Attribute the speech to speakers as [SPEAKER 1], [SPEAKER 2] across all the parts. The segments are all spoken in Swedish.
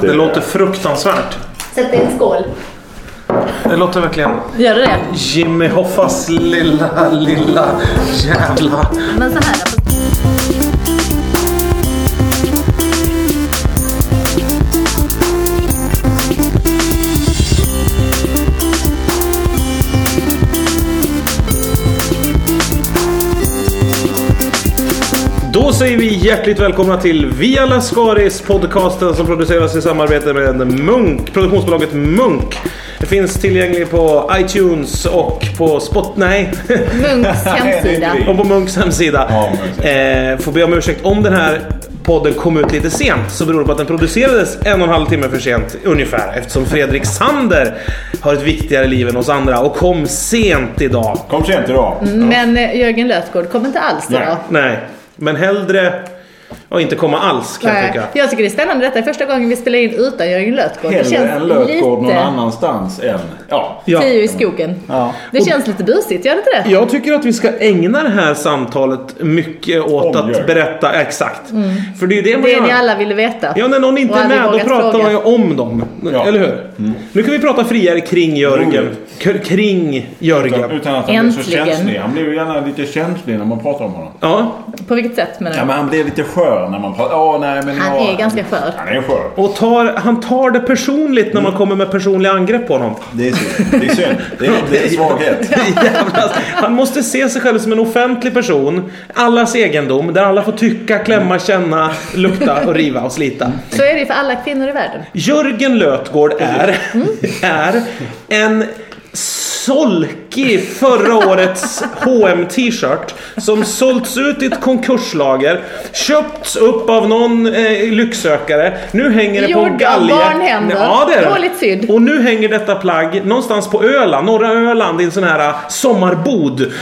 [SPEAKER 1] Det låter fruktansvärt.
[SPEAKER 2] Sätt i en skål.
[SPEAKER 1] Det låter verkligen
[SPEAKER 2] Gör du det?
[SPEAKER 1] Jimmy Hoffas lilla, lilla jävla...
[SPEAKER 2] Men så här.
[SPEAKER 1] Då säger vi hjärtligt välkomna till Via Lascaris podcasten som produceras i samarbete med Munk, produktionsbolaget Munk. Det finns tillgänglig på iTunes och på Spot... Nej.
[SPEAKER 2] Munks hemsida.
[SPEAKER 1] Och på Munks hemsida.
[SPEAKER 3] Ja, Munks
[SPEAKER 1] eh, får be om ursäkt om den här podden kom ut lite sent så beror det på att den producerades en och en halv timme för sent ungefär eftersom Fredrik Sander har ett viktigare liv än oss andra och kom sent idag.
[SPEAKER 3] Kom sent idag.
[SPEAKER 2] Men eh, Jörgen Lötgård kommer inte alls idag.
[SPEAKER 1] Nej, men hellre och inte komma alls kan jag
[SPEAKER 2] Nej.
[SPEAKER 1] tycka.
[SPEAKER 2] Jag tycker det är spännande. Detta är första gången vi spelar in utan Jörgen Lötgård. Det
[SPEAKER 3] Hellre
[SPEAKER 2] känns
[SPEAKER 3] en lökgård någon
[SPEAKER 2] lite...
[SPEAKER 3] annanstans än... Ja.
[SPEAKER 1] Ja.
[SPEAKER 2] Tio i skogen.
[SPEAKER 3] ja.
[SPEAKER 2] Det känns lite busigt, gör det inte det?
[SPEAKER 1] Jag tycker att vi ska ägna det här samtalet mycket åt
[SPEAKER 3] Om
[SPEAKER 1] att
[SPEAKER 3] Jörgen.
[SPEAKER 1] berätta exakt. För det är ju Mm. det man
[SPEAKER 2] Det
[SPEAKER 1] gör.
[SPEAKER 2] ni alla ville veta.
[SPEAKER 1] Ja, när någon inte
[SPEAKER 2] Och
[SPEAKER 1] är
[SPEAKER 2] aldrig
[SPEAKER 1] med då
[SPEAKER 2] vågat
[SPEAKER 1] pratar
[SPEAKER 2] fråga.
[SPEAKER 1] man ju om dem.
[SPEAKER 3] Ja. Mm.
[SPEAKER 1] Eller hur? Nu kan vi prata friare kring Jörgen.
[SPEAKER 3] Roligt.
[SPEAKER 1] K- kring
[SPEAKER 3] Utan,
[SPEAKER 1] Jörgen.
[SPEAKER 3] utan att han blir så
[SPEAKER 2] Äntligen.
[SPEAKER 3] känslig. Han blir ju gärna lite känslig när man pratar om honom.
[SPEAKER 1] Ja.
[SPEAKER 2] På vilket sätt menar
[SPEAKER 3] Ja,
[SPEAKER 2] du?
[SPEAKER 3] men han blir lite skör när man pratar. Ja, nej, men
[SPEAKER 2] Han
[SPEAKER 3] ja,
[SPEAKER 2] är ganska skör.
[SPEAKER 3] Han är skör.
[SPEAKER 1] Och tar, han tar det personligt när
[SPEAKER 3] Mm.
[SPEAKER 1] man kommer med personliga angrepp på honom.
[SPEAKER 3] Det är synd. Det är synd. Det är, det är svaghet.
[SPEAKER 1] Jävlar. Han måste se sig själv som en offentlig person. Allas egendom, där alla får tycka, klämma, känna, lukta och riva och slita.
[SPEAKER 2] Så är det ju för alla kvinnor i världen.
[SPEAKER 1] Jörgen Lötgård är,
[SPEAKER 2] Mm.
[SPEAKER 1] är en solkig förra årets hm t-shirt som sålts ut i ett konkurslager, köpts upp av någon eh, lycksökare. Nu hänger det på en
[SPEAKER 2] Gjord av
[SPEAKER 1] galge.
[SPEAKER 2] barnhänder.
[SPEAKER 1] Ja, det är det.
[SPEAKER 2] Dåligt sydd.
[SPEAKER 1] Och nu hänger detta plagg någonstans på Öland, norra Öland i en sån här eh, sommarbod.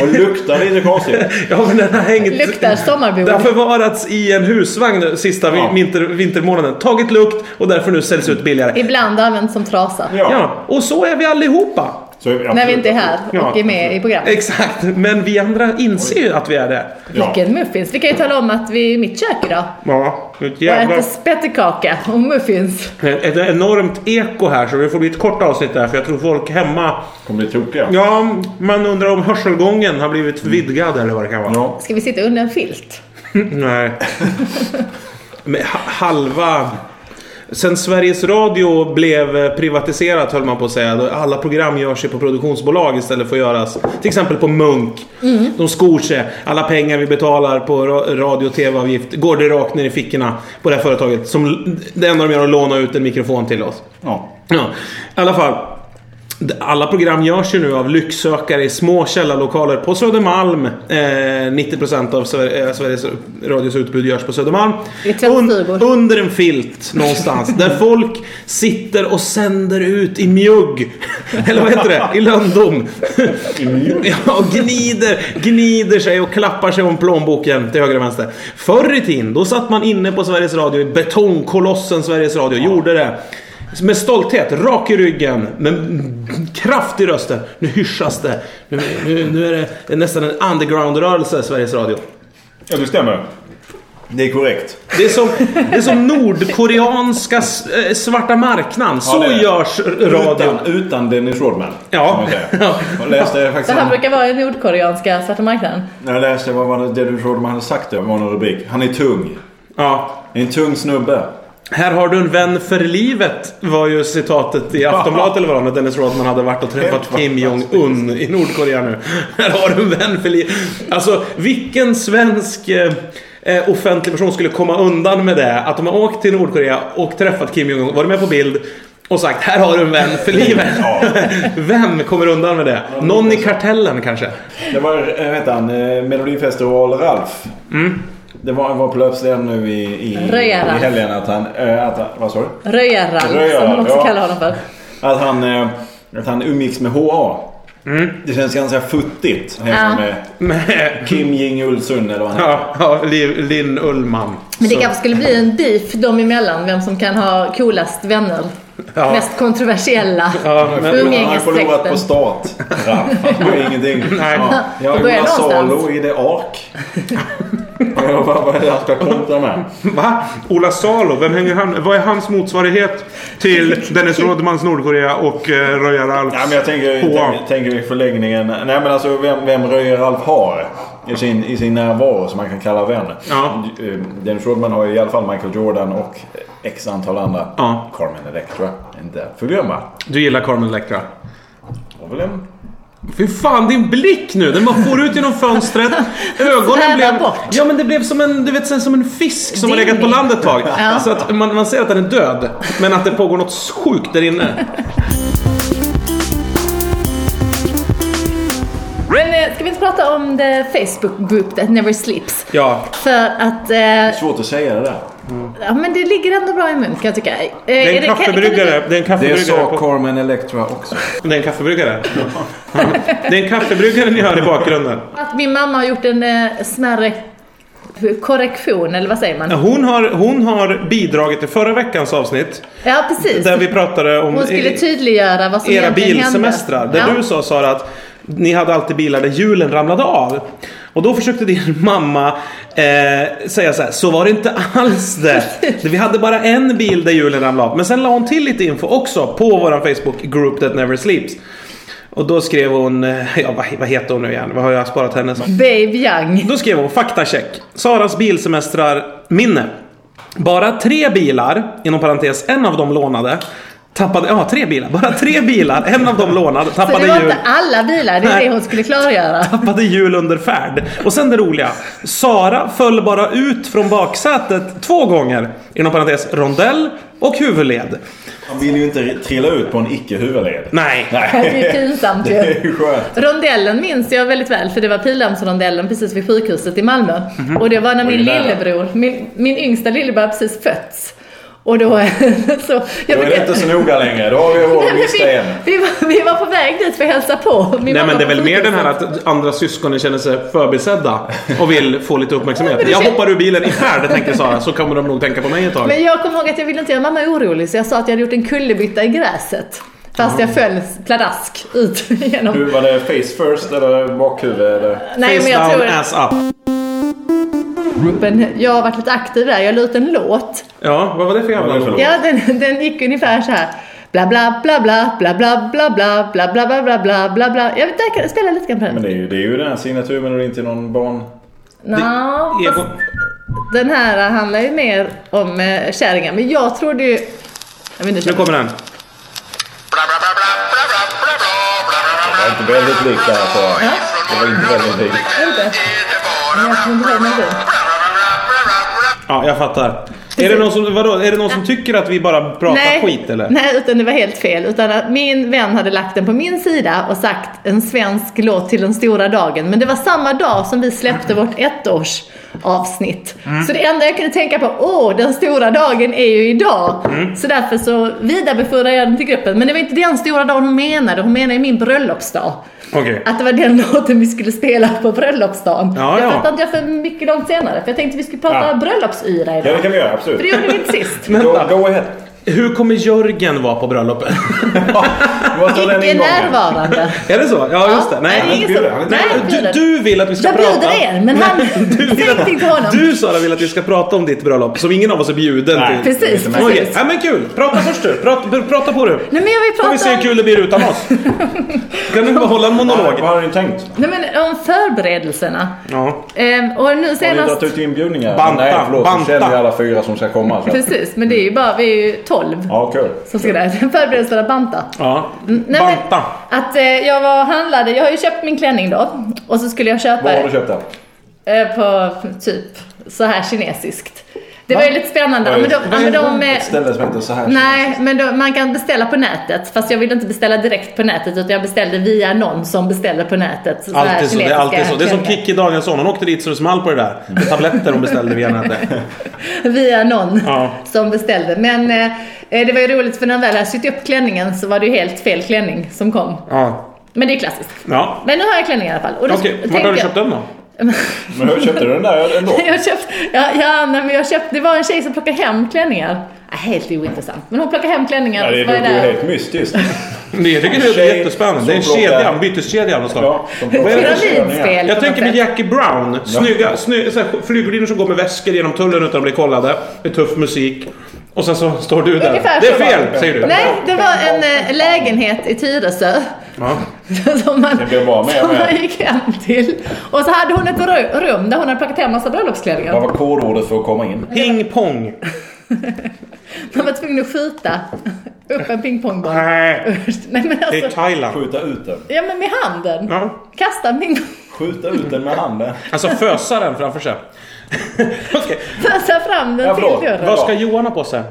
[SPEAKER 3] Och luktar lite konstigt.
[SPEAKER 1] ja, men den har hängt...
[SPEAKER 2] Luktar sommarbord.
[SPEAKER 1] Det har förvarats i en husvagn nu, sista vi-
[SPEAKER 3] Ja.
[SPEAKER 1] vinter, vintermånaden. Tagit lukt och därför nu säljs ut billigare.
[SPEAKER 2] Ibland används som trasa.
[SPEAKER 3] Ja.
[SPEAKER 1] Ja, och så är vi allihopa.
[SPEAKER 3] Så, absolut.
[SPEAKER 2] När vi inte är här och
[SPEAKER 1] Ja.
[SPEAKER 2] är med i programmet.
[SPEAKER 1] Exakt, men vi andra inser ju att vi är det.
[SPEAKER 3] Ja.
[SPEAKER 2] Vilken muffins. Vi kan ju tala om att vi är i mitt kök idag.
[SPEAKER 1] Ja, ett
[SPEAKER 2] Jag
[SPEAKER 1] jävla...
[SPEAKER 2] äter spettekaka och muffins.
[SPEAKER 1] Ett enormt eko här, så det får bli ett kort avsnitt där, för jag tror folk hemma...
[SPEAKER 3] Kommer bli tokiga.
[SPEAKER 1] Ja, man undrar om hörselgången har blivit vidgad eller vad det kan vara.
[SPEAKER 3] Ja.
[SPEAKER 2] Ska vi sitta under en filt?
[SPEAKER 1] Nej. Men ha- halva... Sen Sveriges Radio blev eh, privatiserat höll man på att säga. då Alla program görs ju på produktionsbolag istället för att göras till exempel på Munk. De skor sig. Alla pengar vi betalar på ra- radio och tv-avgift går det rakt ner i fickorna på det här företaget. Som, l- det enda de gör är att låna ut en mikrofon till oss.
[SPEAKER 3] Ja.
[SPEAKER 1] Ja, i alla fall. Alla program görs ju nu av lycksökare i små källarlokaler på Södermalm. Eh, 90% av Sver- eh, Sveriges Radios utbud görs på Södermalm.
[SPEAKER 2] I tältstugor.
[SPEAKER 1] under en filt någonstans. där folk sitter och sänder ut i mjugg. Eller vad heter det? I lönndom.
[SPEAKER 3] I mjugg?
[SPEAKER 1] Ja, och gnider, gnider sig och klappar sig om plånboken till höger och vänster. Förr i tiden, då satt man inne på Sveriges Radio, i betongkolossen Sveriges Radio, gjorde det. Med stolthet, rak i ryggen, med kraft i rösten. Nu hyschas det. Nu, nu, nu är det nästan en underground-rörelse, Sveriges Radio.
[SPEAKER 3] ja, det stämmer. Det är korrekt.
[SPEAKER 1] Det är som, det är som nordkoreanska s- eh, svarta marknaden. Så
[SPEAKER 3] det är det.
[SPEAKER 1] görs r- radion.
[SPEAKER 3] Utan, utan Dennis Rodman.
[SPEAKER 1] Ja.
[SPEAKER 3] kan man säga. Jag läste
[SPEAKER 2] Det
[SPEAKER 3] faktiskt...
[SPEAKER 2] här brukar vara i nordkoreanska svarta marknaden.
[SPEAKER 3] När jag läste vad var det Dennis Rodman hade sagt det var någon rubrik. Han är tung.
[SPEAKER 1] Ja.
[SPEAKER 3] En tung snubbe.
[SPEAKER 1] Här har du en vän för livet var ju citatet i Aftonbladet eller vad det var, när Dennis Rodman hade varit och träffat
[SPEAKER 3] Helt
[SPEAKER 1] Kim Jong-Un i Nordkorea nu. Här har du en vän för livet. Alltså vilken svensk eh, eh, offentlig person skulle komma undan med det? Att de har åkt till Nordkorea och träffat Kim Jong-Un, varit med på bild och sagt här har du en vän för livet.
[SPEAKER 3] Ja. alltså.
[SPEAKER 1] Vem kommer undan med det? Någon i kartellen kanske?
[SPEAKER 3] Det var, eh, vet han, eh, Melodifestival Ralf.
[SPEAKER 1] Mm.
[SPEAKER 3] Det var, var på löpsedeln nu i, i, i
[SPEAKER 2] Röja-Ralf.
[SPEAKER 3] helgen att han... eh, Att, han- vad sa du?
[SPEAKER 2] Röjarralf som
[SPEAKER 3] Röjarralf,
[SPEAKER 2] man också
[SPEAKER 3] ja.
[SPEAKER 2] kallar honom för.
[SPEAKER 3] Att han, eh, att han umgicks med HA.
[SPEAKER 1] Mm.
[SPEAKER 3] Det känns ganska futtigt.
[SPEAKER 2] Ja.
[SPEAKER 3] Ja. Med eh, Kim Jing-Ulsun eller vad han heter.
[SPEAKER 1] ja, ja, Li- Linn Ullman.
[SPEAKER 2] Men det
[SPEAKER 1] Så-
[SPEAKER 2] kanske skulle bli en beef dem emellan, vem som kan ha coolast vänner.
[SPEAKER 1] Ja.
[SPEAKER 2] Mest kontroversiella
[SPEAKER 1] Ja,
[SPEAKER 3] Han
[SPEAKER 1] men-
[SPEAKER 3] har förlorat på
[SPEAKER 2] umgängesträkten.
[SPEAKER 3] stat. Ralf. Han har ingenting.
[SPEAKER 1] Nej.
[SPEAKER 3] Ja.
[SPEAKER 2] Då
[SPEAKER 3] Ja,
[SPEAKER 2] börjar
[SPEAKER 3] Jonas
[SPEAKER 2] någonstans.
[SPEAKER 3] Salo i det ark. Ja, Vad vad är det han ska kontra med?
[SPEAKER 1] Va? Ola Salo, vem hänger han? Vad är hans motsvarighet till Dennis Rodmans Nordkorea och eh, Röja Ralfs
[SPEAKER 3] Nej, men jag tänker,
[SPEAKER 1] H?
[SPEAKER 3] tänker, tänker i förlängningen. Nej, men alltså vem, vem Röjer Alf har i sin, i sin närvaro som man kan kalla vän.
[SPEAKER 1] Ja.
[SPEAKER 3] Eh, Dennis Rodman har ju i alla fall Michael Jordan och x antal andra.
[SPEAKER 1] Ja.
[SPEAKER 3] Carmen Electra. Inte att förglömma.
[SPEAKER 1] Du gillar Carmen Electra?
[SPEAKER 3] Har väl en
[SPEAKER 1] Fy fan, din blick nu! Den bara for ut genom fönstret. Ögonen
[SPEAKER 2] Städa
[SPEAKER 1] blev...
[SPEAKER 2] bort.
[SPEAKER 1] Ja, men det blev som en, du vet, som en fisk som har
[SPEAKER 2] Din
[SPEAKER 1] legat på
[SPEAKER 2] blick.
[SPEAKER 1] land ett tag.
[SPEAKER 2] Ja.
[SPEAKER 1] Så att man, man ser att den är död, men att det pågår något sjukt där inne.
[SPEAKER 2] Men eh, ska vi inte prata om the Facebook group that never sleeps?
[SPEAKER 1] Ja,
[SPEAKER 2] För att, eh, ja
[SPEAKER 3] Svårt att säga det där.
[SPEAKER 2] men det ligger ändå bra i mun kan jag tycka. Eh,
[SPEAKER 1] det är
[SPEAKER 2] är
[SPEAKER 1] en
[SPEAKER 2] det- kan- kan du-
[SPEAKER 1] kaffebryggare. Det är en
[SPEAKER 3] Det
[SPEAKER 1] kaffebryggare.
[SPEAKER 3] sa
[SPEAKER 1] på-
[SPEAKER 3] Carmen Electra också.
[SPEAKER 1] Det är en kaffebryggare. Det är en kaffebryggare ni hör i bakgrunden.
[SPEAKER 2] Att min mamma har gjort en eh, smärre korrektion, eller vad säger man?
[SPEAKER 1] Hon har, hon har bidragit till förra veckans avsnitt.
[SPEAKER 2] Ja, precis.
[SPEAKER 1] Där vi pratade om e-
[SPEAKER 2] Hon skulle typ tydliggöra vad som
[SPEAKER 1] era
[SPEAKER 2] egentligen hände.
[SPEAKER 1] bilsemestrar. Där
[SPEAKER 2] ja.
[SPEAKER 1] du sa Sara att ni hade alltid bilar där hjulen ramlade av. Och då försökte din mamma eh, säga så här, så var det inte alls det. Vi hade bara en bil där hjulen ramlade av. Men sen la hon till lite info också på vår Facebook group that never sleeps. Och då skrev hon, eh, ja vad, vad heter hon nu igen? Vad har jag sparat henne som?
[SPEAKER 2] Babe Young.
[SPEAKER 1] Då skrev hon faktacheck. Saras bilsemestrar minne. Bara tre bilar, inom parentes en av dem lånade. Tappade, ja tre bilar. Bara tre bilar, en av dem lånade.
[SPEAKER 2] Så
[SPEAKER 1] Tappade
[SPEAKER 2] det var
[SPEAKER 1] hjul,
[SPEAKER 2] inte alla bilar, det är
[SPEAKER 1] Nej.
[SPEAKER 2] det hon skulle klargöra.
[SPEAKER 1] tappade hjul under färd. Och sen det roliga. Sara föll bara ut från baksätet två gånger. Inom parentes rondell och huvudled.
[SPEAKER 3] Man vill ju inte trilla ut på en icke-huvudled.
[SPEAKER 1] Nej.
[SPEAKER 2] Det är ju pinsamt
[SPEAKER 3] Det är
[SPEAKER 2] ju.
[SPEAKER 3] ju skönt.
[SPEAKER 2] Rondellen minns jag väldigt väl för det var Pildammsrondellen precis vid sjukhuset i Malmö.
[SPEAKER 1] Mhm.
[SPEAKER 2] Och det var när min
[SPEAKER 3] Oj, där.
[SPEAKER 2] lillebror, min, min yngsta lillebror hade precis fötts. Och då så... Jag
[SPEAKER 3] Då är det inte så noga längre. Då har vi
[SPEAKER 2] Nej,
[SPEAKER 3] vår
[SPEAKER 2] men
[SPEAKER 3] lista
[SPEAKER 2] vi,
[SPEAKER 3] igen.
[SPEAKER 2] vi, var, vi var på väg dit för att hälsa på. Min
[SPEAKER 1] Nej
[SPEAKER 2] mamma
[SPEAKER 1] men det är väl
[SPEAKER 2] på
[SPEAKER 1] mer den här
[SPEAKER 2] sjukhuset.
[SPEAKER 1] att andra syskonen känner sig förbisedda och vill få lite
[SPEAKER 2] Men
[SPEAKER 1] uppmärksamhet.
[SPEAKER 2] det
[SPEAKER 1] Jag
[SPEAKER 2] kän-
[SPEAKER 1] hoppar ur bilen i färd tänkte Sara, så kommer de nog tänka på mig ett tag.
[SPEAKER 2] Men jag kommer ihåg att jag ville inte göra mamma orolig så jag sa att jag hade gjort en kullerbytta i gräset. Fast jag föll pladask ut genom...
[SPEAKER 3] Du, var det face first eller bakhuvud? Eller?
[SPEAKER 2] Nej men jag
[SPEAKER 1] Face
[SPEAKER 2] tror
[SPEAKER 1] down, ass up.
[SPEAKER 2] att jag har varit lite aktiv där. Jag la ut en låt.
[SPEAKER 1] Ja, vad var det för
[SPEAKER 3] Vad
[SPEAKER 1] jävla
[SPEAKER 3] var det för
[SPEAKER 1] låt?
[SPEAKER 2] Ja, den, den gick ungefär så här. Bla bla bla bla bla bla bla bla bla bla bla bla bla bla bla. Jag vet, där kan spela lite grann på
[SPEAKER 3] Men
[SPEAKER 2] den.
[SPEAKER 3] det är ju, det är ju den här signaturmelodin till någon barn...
[SPEAKER 2] Nå, fast
[SPEAKER 1] Egon-
[SPEAKER 2] den här handlar ju mer om eh, kärringar. Men jag trodde ju... Jag vet inte,
[SPEAKER 1] Nu kommer den.
[SPEAKER 3] Det var inte väldigt likt det här så. Det var inte väldigt likt.
[SPEAKER 2] Inte? Men jag kommer inte ihåg melodin.
[SPEAKER 1] Ja, jag fattar. Är det någon som, vadå, är det någon som tycker att vi bara pratar skit eller?
[SPEAKER 2] Nej, utan det var helt fel. Utan att min vän hade lagt den på min sida och sagt en svensk låt till den stora dagen. Men det var samma dag som vi släppte vårt ettårsavsnitt.
[SPEAKER 3] Mm.
[SPEAKER 2] Så det enda jag kunde tänka på, åh, den stora dagen är ju idag.
[SPEAKER 3] Mm.
[SPEAKER 2] Så därför så vidarebefordrade jag den till gruppen. Men det var inte den stora dagen hon menade. Hon menade ju min bröllopsdag.
[SPEAKER 1] Okej.
[SPEAKER 2] Att det var den låten vi skulle spela på bröllopsdagen.
[SPEAKER 1] Ja,
[SPEAKER 2] jag
[SPEAKER 1] ja.
[SPEAKER 2] fattade inte jag för mycket långt senare. För jag tänkte vi skulle prata
[SPEAKER 1] Ja.
[SPEAKER 2] bröllopsyra
[SPEAKER 3] Ja,
[SPEAKER 2] idag.
[SPEAKER 3] det kan vi göra.
[SPEAKER 2] För det
[SPEAKER 3] Absolut.
[SPEAKER 2] gjorde vi inte sist.
[SPEAKER 3] Go, go ahead.
[SPEAKER 1] Hur kommer Jörgen vara på bröllopet?
[SPEAKER 3] Vad står den
[SPEAKER 2] Icke
[SPEAKER 3] ingången?
[SPEAKER 2] närvarande.
[SPEAKER 1] är det så? Ja, just det. Nej,
[SPEAKER 2] det är
[SPEAKER 1] men-
[SPEAKER 2] ingen
[SPEAKER 3] bjuder
[SPEAKER 2] som-
[SPEAKER 3] han.
[SPEAKER 2] Nej,
[SPEAKER 1] Nej,
[SPEAKER 2] jag
[SPEAKER 1] du,
[SPEAKER 2] bjuder.
[SPEAKER 1] du vill att vi ska
[SPEAKER 2] Jag
[SPEAKER 1] prata...
[SPEAKER 2] bjuder er, men han...
[SPEAKER 1] Du, vill
[SPEAKER 2] Säg till
[SPEAKER 1] att,
[SPEAKER 2] honom.
[SPEAKER 1] du Sara vill att vi ska prata om ditt bröllop som ingen av oss är bjuden
[SPEAKER 3] Nej.
[SPEAKER 1] till.
[SPEAKER 2] Precis,
[SPEAKER 3] Okej,
[SPEAKER 1] Okej,
[SPEAKER 2] precis.
[SPEAKER 1] ja, men kul. Prata först du. Prata, prata på du.
[SPEAKER 2] Nej men jag vill
[SPEAKER 1] Får vi se
[SPEAKER 2] prata
[SPEAKER 1] hur
[SPEAKER 2] om,
[SPEAKER 1] kul det blir utan oss. Kan du bara hålla en
[SPEAKER 3] Vad
[SPEAKER 1] monolog?
[SPEAKER 3] har ni tänkt?
[SPEAKER 2] nej, men om förberedelserna.
[SPEAKER 1] Ja.
[SPEAKER 2] Ehm, och nu
[SPEAKER 3] Har ni
[SPEAKER 2] senast...
[SPEAKER 3] dragit ut inbjudningar?
[SPEAKER 1] Banta,
[SPEAKER 3] Nej, förlåt.
[SPEAKER 1] banta.
[SPEAKER 3] Nu känner vi alla fyra som ska komma. Så.
[SPEAKER 2] Precis, men det är ju bara, vi är ju 12
[SPEAKER 3] Ja, kul.
[SPEAKER 2] som ska där. Förberedelserna banta.
[SPEAKER 1] Ja.
[SPEAKER 2] Nej, men
[SPEAKER 1] Banta.
[SPEAKER 2] Att eh, jag var och handlade, jag har ju köpt min klänning då. Och så skulle jag köpa
[SPEAKER 3] Vad har du köpt där?
[SPEAKER 2] eh, på typ så här kinesiskt. Det var ju lite spännande. Men de, ja, men de, eh,
[SPEAKER 3] Ett ställe som heter så här.
[SPEAKER 2] Nej, men då, man kan beställa på nätet. Fast jag ville inte beställa direkt på nätet utan jag beställde via någon som beställer på nätet. Så här
[SPEAKER 1] Alltid så, det är
[SPEAKER 2] kinesiska
[SPEAKER 1] alltid så. Det är som
[SPEAKER 2] klänningar.
[SPEAKER 1] Kikki Danielsson, hon åkte dit så det small på det där. Med tabletter hon beställde via nätet.
[SPEAKER 2] Via någon
[SPEAKER 1] Ja.
[SPEAKER 2] som beställde. Men eh, det var ju roligt för när jag väl hade sytt upp klänningen så var det ju helt fel klänning som kom.
[SPEAKER 1] Ja.
[SPEAKER 2] Men det är klassiskt.
[SPEAKER 1] ja.
[SPEAKER 2] Men nu har jag klänningen i alla fall. Och då
[SPEAKER 1] Okej, vart
[SPEAKER 2] tänkte
[SPEAKER 1] har du
[SPEAKER 2] jag-
[SPEAKER 1] köpt den då?
[SPEAKER 3] Men hur köpte du den där ändå?
[SPEAKER 2] Jag köpte, ja, ja, nej, men jag köpte, det var en tjej som plockade hem klänningar. Ah, helt ointressant. Men hon plockar hem klänningar
[SPEAKER 3] Ja,
[SPEAKER 2] och
[SPEAKER 3] det
[SPEAKER 2] så var jag
[SPEAKER 3] låter ju
[SPEAKER 2] där.
[SPEAKER 3] helt mystiskt.
[SPEAKER 1] Nej, jag tycker det är
[SPEAKER 3] Tjej
[SPEAKER 1] jättespännande. Det är en
[SPEAKER 3] som plockar-
[SPEAKER 1] kedja, en byteskedja av något slag.
[SPEAKER 3] Ja, som
[SPEAKER 2] Ett
[SPEAKER 3] vad är det för körningar?
[SPEAKER 2] Pyramidspel. på
[SPEAKER 1] Jag
[SPEAKER 2] något
[SPEAKER 1] tänker med
[SPEAKER 2] sätt.
[SPEAKER 1] Jackie Brown. Snygga, snygga så här, flygvärdinnor som går med väskor genom tullen utan att bli kollade. Med tuff musik. Och sen så står du där.
[SPEAKER 2] Ungefär
[SPEAKER 1] det är
[SPEAKER 2] så
[SPEAKER 1] fel,
[SPEAKER 2] var
[SPEAKER 1] säger du.
[SPEAKER 2] Nej, det var en eh, lägenhet i Tyresö.
[SPEAKER 1] Ja.
[SPEAKER 2] Som man,
[SPEAKER 3] Det blev bra med,
[SPEAKER 2] som
[SPEAKER 3] med.
[SPEAKER 2] man gick hem till. Och så hade hon ett ru- rum där hon hade plockat hem massa
[SPEAKER 3] Vad
[SPEAKER 2] bröllopsklänningar.
[SPEAKER 3] var kodordet för att komma in?
[SPEAKER 1] Ping pong.
[SPEAKER 2] Man var tvungen att skjuta upp en pingpongboll.
[SPEAKER 1] Nej,
[SPEAKER 2] Nej men
[SPEAKER 1] det är
[SPEAKER 2] alltså,
[SPEAKER 1] Thailand.
[SPEAKER 3] Skjuta ut den.
[SPEAKER 2] ja men med handen.
[SPEAKER 1] Ja.
[SPEAKER 2] Kasta en pingpong.
[SPEAKER 3] Skjuta ut den med handen.
[SPEAKER 1] Alltså fösa den framför sig. Okej,
[SPEAKER 2] Fösa fram den
[SPEAKER 3] Ja,
[SPEAKER 2] till
[SPEAKER 3] förlåt.
[SPEAKER 2] dörren.
[SPEAKER 1] Vad ska Johan ha på sig?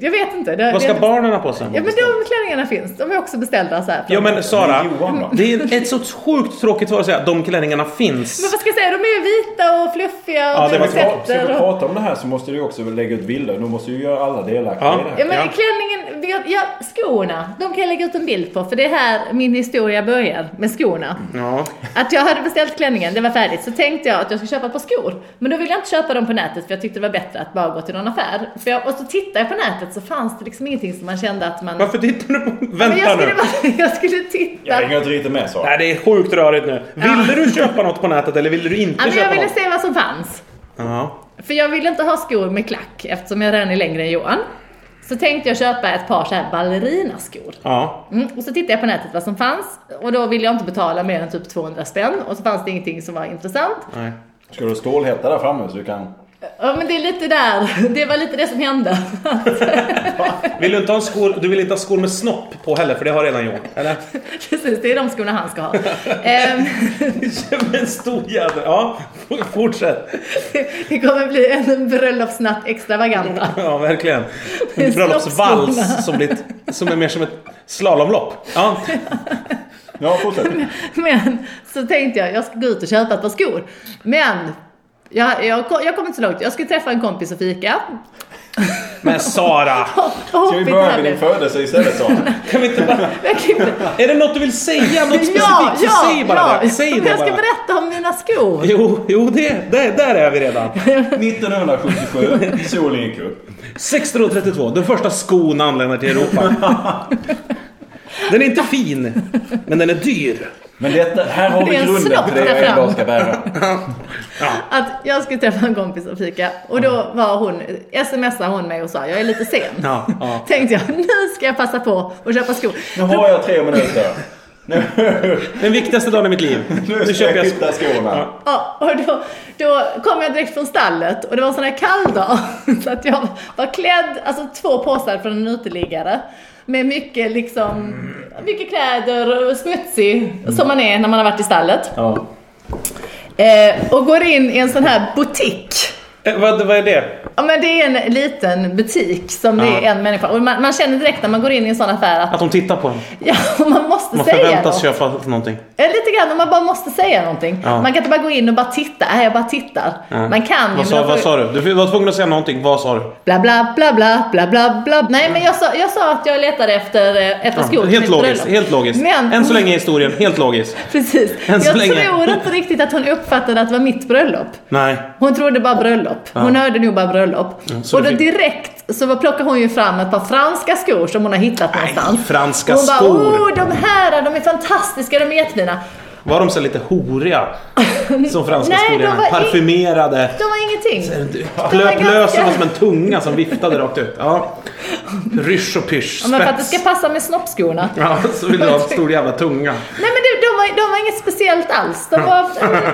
[SPEAKER 2] Jag vet inte. Det,
[SPEAKER 1] Vad ska
[SPEAKER 2] det,
[SPEAKER 1] barnen ha på sig?
[SPEAKER 2] Ja men de klänningarna finns. De är också beställda så här. från-
[SPEAKER 1] Ja men Sara,
[SPEAKER 3] Men Johan då?
[SPEAKER 1] det är ett så sjukt tråkigt svar att säga de klänningarna
[SPEAKER 2] Men
[SPEAKER 1] finns.
[SPEAKER 2] vad ska jag säga? De är ju vita och fluffiga och
[SPEAKER 1] Ja, det var
[SPEAKER 3] Men
[SPEAKER 1] Sätter
[SPEAKER 3] ska, ska vi
[SPEAKER 2] och...
[SPEAKER 3] prata om det här så måste du ju också lägga ut bilder. Du måste ju göra alla delaktiga
[SPEAKER 1] Ja.
[SPEAKER 3] i det här.
[SPEAKER 2] Ja men
[SPEAKER 1] Ja.
[SPEAKER 2] klänningen, jag- ja, skorna, de kan jag lägga ut en bild på för det är här min historia börjar med skorna.
[SPEAKER 1] Ja.
[SPEAKER 2] Att jag hade beställt klänningen, det var färdigt, så tänkte jag att jag skulle köpa ett par skor. Men då ville jag inte köpa dem på nätet för jag tyckte det var bättre att bara gå till någon affär. För jag, och så tittade jag på nätet så fanns det liksom ingenting som man kände att man...
[SPEAKER 1] Varför tittar du på...
[SPEAKER 2] Men
[SPEAKER 1] Vänta
[SPEAKER 2] jag
[SPEAKER 1] nu.
[SPEAKER 2] skulle, bara, jag skulle titta.
[SPEAKER 3] Jag hänger inte riktigt med så.
[SPEAKER 1] Nej det är sjukt rörigt nu. Ville du köpa något på nätet eller ville du
[SPEAKER 2] Ja,
[SPEAKER 1] inte
[SPEAKER 2] men jag
[SPEAKER 1] köpa
[SPEAKER 2] ville
[SPEAKER 1] något?
[SPEAKER 2] se vad som fanns.
[SPEAKER 1] Ja.
[SPEAKER 2] För jag ville inte ha skor med klack eftersom jag redan är längre än Johan. Så tänkte jag köpa ett par så här ballerinaskor.
[SPEAKER 1] Ja.
[SPEAKER 2] Mm, och så tittade jag på nätet vad som fanns och då ville jag inte betala mer än typ 200 spänn och så fanns det ingenting som var intressant.
[SPEAKER 1] Nej.
[SPEAKER 3] Ska du stålhätta där framme så du kan...
[SPEAKER 2] Ja men det är lite där, det var lite det som hände.
[SPEAKER 1] Vill du inte ha en skor... Du vill inte ha skor med snopp på heller för det har redan Johan. Eller?
[SPEAKER 2] Precis, det är de skorna han ska ha. Ehm,
[SPEAKER 1] Som en stor jävel. Ja. Fortsätt.
[SPEAKER 2] det kommer bli en bröllopsnatt extravaganta.
[SPEAKER 1] Ja verkligen. En
[SPEAKER 2] är
[SPEAKER 1] bröllopsvals
[SPEAKER 2] snoppskorna.
[SPEAKER 1] som, blir, som är mer som ett slalomlopp. Ja.
[SPEAKER 3] Ja, fortsätt.
[SPEAKER 2] Men så tänkte jag, jag ska gå ut och köpa ett par skor. Men jag, jag, kom- jag kom inte så långt. Jag skulle träffa en kompis och fika.
[SPEAKER 1] Men Sara!
[SPEAKER 3] Ska vi börja med din födelse istället så?
[SPEAKER 1] Kan vi inte bara... Är det något du vill säga? Något specifikt?
[SPEAKER 2] Ja,
[SPEAKER 1] så
[SPEAKER 2] ja,
[SPEAKER 1] säg bara
[SPEAKER 2] ja.
[SPEAKER 1] det. Säg
[SPEAKER 2] Men
[SPEAKER 1] det
[SPEAKER 2] jag ska
[SPEAKER 1] bara.
[SPEAKER 2] berätta om mina skor.
[SPEAKER 1] Jo, jo det, det, där är vi redan.
[SPEAKER 3] 1977, solen gick upp.
[SPEAKER 1] 1632, den första skon anländer till Europa. Den är inte fin, men den är dyr.
[SPEAKER 3] Men detta, här har vi
[SPEAKER 2] Det är en
[SPEAKER 3] grunden
[SPEAKER 2] snopp
[SPEAKER 3] till det
[SPEAKER 2] där
[SPEAKER 3] jag
[SPEAKER 2] fram.
[SPEAKER 3] idag ska bära.
[SPEAKER 2] Att jag skulle träffa en kompis och fika och då var hon, smsade hon mig och sa jag är lite sen.
[SPEAKER 1] Ja, ja.
[SPEAKER 2] Tänkte jag nu ska jag passa på och köpa skor.
[SPEAKER 3] Nu har jag tre minuter. Nu,
[SPEAKER 1] Den viktigaste dagen i mitt liv.
[SPEAKER 3] nu ska jag hitta skorna.
[SPEAKER 1] Ja.
[SPEAKER 2] Ja, och då, då kom jag direkt från stallet och det var en sån här kall dag. Så att jag var klädd, alltså två påsar från en uteliggare. Med mycket liksom, mycket kläder och smutsig
[SPEAKER 1] Mm.
[SPEAKER 2] som man är när man har varit i stallet.
[SPEAKER 3] Ja.
[SPEAKER 2] Eh, och går in i en sån här butik.
[SPEAKER 1] Eh, Vad, vad är det?
[SPEAKER 2] Ja men det är en liten butik som det
[SPEAKER 1] Ja.
[SPEAKER 2] är en människa. Och man, man känner direkt när man går in i en sån affär att
[SPEAKER 1] Att de tittar på en.
[SPEAKER 2] ja, man måste
[SPEAKER 1] Man
[SPEAKER 2] säga något.
[SPEAKER 1] förväntas köpa någonting.
[SPEAKER 2] Eller lite grann, man bara måste säga någonting.
[SPEAKER 1] Ja.
[SPEAKER 2] Man kan inte bara gå in och bara titta. Nej, jag bara tittar.
[SPEAKER 1] Ja.
[SPEAKER 2] Man kan ju.
[SPEAKER 1] Vad sa,
[SPEAKER 2] men
[SPEAKER 1] vad
[SPEAKER 2] då får-
[SPEAKER 1] sa du? Du var tvungen att säga någonting. Vad sa du?
[SPEAKER 2] Bla, bla, bla, bla, bla, bla, bla. Nej, men jag sa, jag sa att jag letade efter, eh, efter skor.
[SPEAKER 1] Ja,
[SPEAKER 2] till
[SPEAKER 1] helt
[SPEAKER 2] mitt
[SPEAKER 1] logiskt.
[SPEAKER 2] bröllop.
[SPEAKER 1] Helt logiskt.
[SPEAKER 2] Men,
[SPEAKER 1] Än så länge i historien. Helt logiskt.
[SPEAKER 2] Precis.
[SPEAKER 1] Än så
[SPEAKER 2] jag
[SPEAKER 1] länge.
[SPEAKER 2] tror inte riktigt att hon uppfattade att det var mitt bröllop.
[SPEAKER 1] Nej.
[SPEAKER 2] Hon trodde bara bröllop. Hon hörde nog bara bröllop.
[SPEAKER 1] så
[SPEAKER 2] och
[SPEAKER 1] det
[SPEAKER 2] då
[SPEAKER 1] fick-
[SPEAKER 2] direkt så plockar hon ju fram ett par franska skor som hon har hittat någonstans.
[SPEAKER 1] franska
[SPEAKER 2] hon bara,
[SPEAKER 1] skor.
[SPEAKER 2] oh de här, de är fantastiska, de är jättefina.
[SPEAKER 1] Var de så lite horiga? Som franska
[SPEAKER 2] Nej,
[SPEAKER 1] skolor
[SPEAKER 2] de
[SPEAKER 1] är.
[SPEAKER 2] var i-
[SPEAKER 1] Parfymerade.
[SPEAKER 2] De var ingenting.
[SPEAKER 1] Plöp
[SPEAKER 2] ganska-
[SPEAKER 1] lös som en tunga som viftade rakt ut. Ja. Rysch och pysch.
[SPEAKER 2] Ja, Men för att det ska
[SPEAKER 1] Spets.
[SPEAKER 2] passa med snoppskorna.
[SPEAKER 1] Ja, så vill du ha en stor jävla tunga.
[SPEAKER 2] Nej men du, de var, de var inget speciellt alls. De var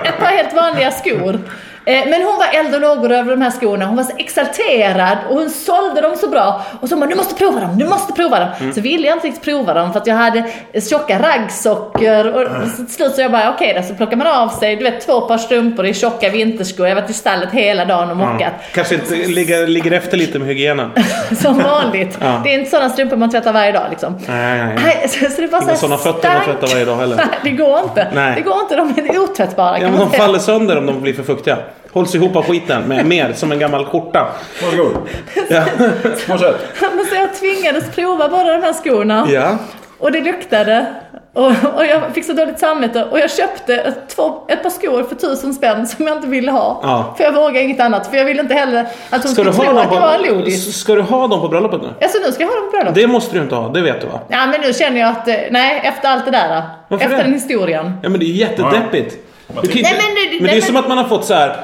[SPEAKER 2] ett par helt vanliga skor. Eh, Men hon var eld och lågor över de här skorna. Hon var så exalterad och hon sålde dem så bra. Och så hon bara, du måste prova dem, du måste prova dem. Så ville jag inte riktigt prova dem för att jag hade tjocka raggsockor. Och så till slut så jag bara, okej då, så plockar man av sig, du vet två par strumpor i tjocka vinterskor. Jag har varit i stallet hela dagen och mockat.
[SPEAKER 1] Kanske inte ligger, ligger efter lite med hygienen.
[SPEAKER 2] Som vanligt.
[SPEAKER 1] Ja.
[SPEAKER 2] Det är inte sådana strumpor man tvättar varje dag liksom.
[SPEAKER 1] Nej, nej, nej.
[SPEAKER 2] Nej, så, så det bara
[SPEAKER 1] Inga
[SPEAKER 2] så
[SPEAKER 1] såna
[SPEAKER 2] här
[SPEAKER 1] fötter man tvättar varje dag heller.
[SPEAKER 2] Nej, det går inte.
[SPEAKER 1] Nej.
[SPEAKER 2] Det går inte, de är otvättbara
[SPEAKER 1] Ja, men
[SPEAKER 2] kan man
[SPEAKER 1] de
[SPEAKER 2] säga.
[SPEAKER 1] faller sönder om de blir för fuktiga. Hålls ihop av skiten med mer, som en gammal skjorta.
[SPEAKER 3] Varsågod.
[SPEAKER 1] Ja.
[SPEAKER 3] Fortsätt.
[SPEAKER 2] Men så jag tvingades prova båda de här skorna.
[SPEAKER 1] ja.
[SPEAKER 2] Och det luktade Och, och jag fick så dåligt samvete och jag köpte ett, två, ett par skor för tusen spänn som jag inte ville ha.
[SPEAKER 1] Ja.
[SPEAKER 2] För jag vågade inget annat. För jag ville inte heller att hon
[SPEAKER 1] Ska du,
[SPEAKER 2] skulle
[SPEAKER 1] ha
[SPEAKER 2] tro
[SPEAKER 1] dem
[SPEAKER 2] att jag var en
[SPEAKER 1] på,
[SPEAKER 2] lodis.
[SPEAKER 1] s- ska du ha dem på bröllopet nu?
[SPEAKER 2] Alltså nu ska jag ha dem på bröllop.
[SPEAKER 1] Det måste du inte ha, det vet du va?
[SPEAKER 2] Ja men nu känner jag att, eh, nej efter allt det där. då.
[SPEAKER 1] Varför
[SPEAKER 2] Efter
[SPEAKER 1] det?
[SPEAKER 2] den historien.
[SPEAKER 1] Ja men det är ju jättedeppigt. Du kan ju
[SPEAKER 2] Nej,
[SPEAKER 1] inte-
[SPEAKER 2] men det-
[SPEAKER 1] men det
[SPEAKER 2] nej,
[SPEAKER 1] är
[SPEAKER 2] men-
[SPEAKER 1] som att man har fått så här.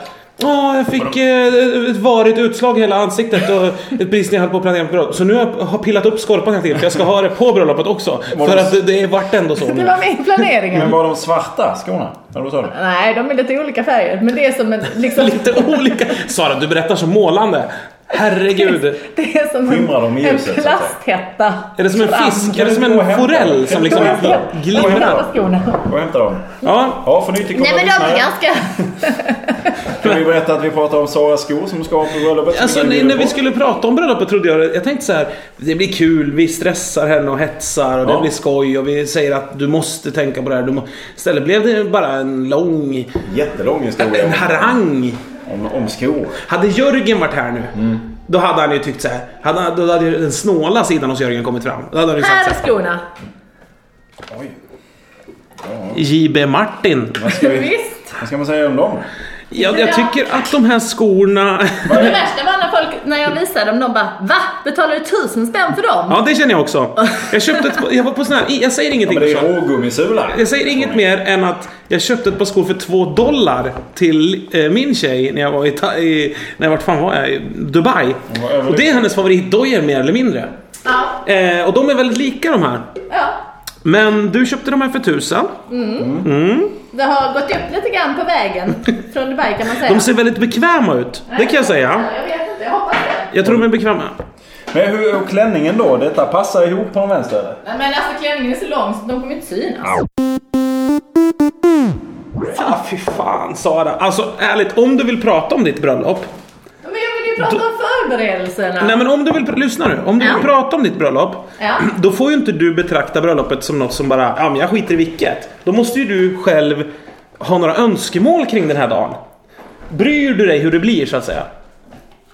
[SPEAKER 1] Åh, jag fick eh, ett varigt utslag i hela ansiktet och ett brist när jag höll på att planera på bröllop. Så nu har jag har pillat upp skorpan hela tiden för jag ska ha det på bröllopet också. För att det, det vart ändå så
[SPEAKER 2] Det
[SPEAKER 1] nu.
[SPEAKER 2] var med i planeringen.
[SPEAKER 3] Men var de svarta skorna? Eller vad sa du?
[SPEAKER 2] Nej, de är lite olika färger. Men det är som en... Liksom,
[SPEAKER 1] Lite olika. Sara, du berättar så målande. Herregud.
[SPEAKER 2] det är som
[SPEAKER 3] Skimrar de
[SPEAKER 2] en,
[SPEAKER 3] i
[SPEAKER 2] en
[SPEAKER 3] ljuset, så att säga?
[SPEAKER 2] plasthätta.
[SPEAKER 1] Är det som en fisk? Är det som
[SPEAKER 3] Gå och
[SPEAKER 1] en
[SPEAKER 3] hämta dem.
[SPEAKER 1] forell som liksom
[SPEAKER 3] Gå och hämta dem.
[SPEAKER 1] glimmar?
[SPEAKER 3] Gå och hämta dem.
[SPEAKER 1] Ja,
[SPEAKER 3] Ja, för nytillkomna
[SPEAKER 2] Nej men de är
[SPEAKER 3] lyssnare
[SPEAKER 2] ganska...
[SPEAKER 3] kan vi berätta att vi pratar om Saras skor som ska ha på bröllopet. som
[SPEAKER 1] Alltså
[SPEAKER 3] vi
[SPEAKER 1] när,
[SPEAKER 3] bjuder
[SPEAKER 1] när vi
[SPEAKER 3] på.
[SPEAKER 1] skulle prata om bröllopet trodde jag Jag tänkte så här. Det blir kul, vi stressar henne och hetsar och det
[SPEAKER 3] Ja.
[SPEAKER 1] blir skoj och vi säger att du måste tänka på det här. Du må... Istället blev det bara en lång
[SPEAKER 3] Jättelång historia.
[SPEAKER 1] en
[SPEAKER 3] om-
[SPEAKER 1] harang.
[SPEAKER 3] Om, om skor.
[SPEAKER 1] Hade Jörgen varit här nu,
[SPEAKER 3] Mm.
[SPEAKER 1] då hade han ju tyckt så här. Hade, då hade ju den snåla sidan hos Jörgen kommit fram. Då hade han ju sagt
[SPEAKER 2] Här
[SPEAKER 1] så
[SPEAKER 2] är
[SPEAKER 1] här,
[SPEAKER 2] skorna.
[SPEAKER 3] Oj.
[SPEAKER 1] JB Martin.
[SPEAKER 3] Vad ska, vi,
[SPEAKER 2] Visst.
[SPEAKER 3] vad ska man säga om dem?
[SPEAKER 1] Jag, jag tycker att de här skorna...
[SPEAKER 2] Och det värsta var när folk, när jag visade dem, de bara Va? Betalar du tusen spänn för dem?
[SPEAKER 1] Ja, det känner jag också. Jag köpte ett, jag var på sån här, jag säger ingenting.
[SPEAKER 3] Men det
[SPEAKER 1] Sean.
[SPEAKER 3] är rågummisula.
[SPEAKER 1] Jag säger inget mer än att jag köpte ett par skor för två dollar till eh, min tjej när jag var i, ta- i när jag, vart fan var jag? I Dubai.
[SPEAKER 3] Hon var överlycklig.
[SPEAKER 1] Och det är hennes favoritdojor mer eller mindre.
[SPEAKER 2] Ja.
[SPEAKER 1] Eh, och de är väldigt lika de här.
[SPEAKER 2] ja.
[SPEAKER 1] Men du köpte de här för tusen.
[SPEAKER 2] Det har gått upp lite grann på vägen från Dubai kan man säga.
[SPEAKER 1] De ser väldigt bekväma ut. Det kan jag säga.
[SPEAKER 2] Jag vet inte, jag hoppas det.
[SPEAKER 1] Jag tror de är bekväma.
[SPEAKER 3] Men hur, och klänningen då? Detta passar ihop på den vänster eller?
[SPEAKER 2] Nej men alltså klänningen är så lång så de kommer inte synas.
[SPEAKER 1] Ah, fy fan Sara. Alltså ärligt, om du vill prata om ditt bröllop.
[SPEAKER 2] Men jag vill ju prata om förberedelserna.
[SPEAKER 1] Nej men om du vill, pr- lyssna nu. Om du vill
[SPEAKER 2] Ja.
[SPEAKER 1] prata om ditt bröllop.
[SPEAKER 2] Ja.
[SPEAKER 1] Då får ju inte du betrakta bröllopet som något som bara, ja men jag skiter i vilket. Då måste ju du själv ha några önskemål kring den här dagen. Bryr du dig hur det blir så att säga?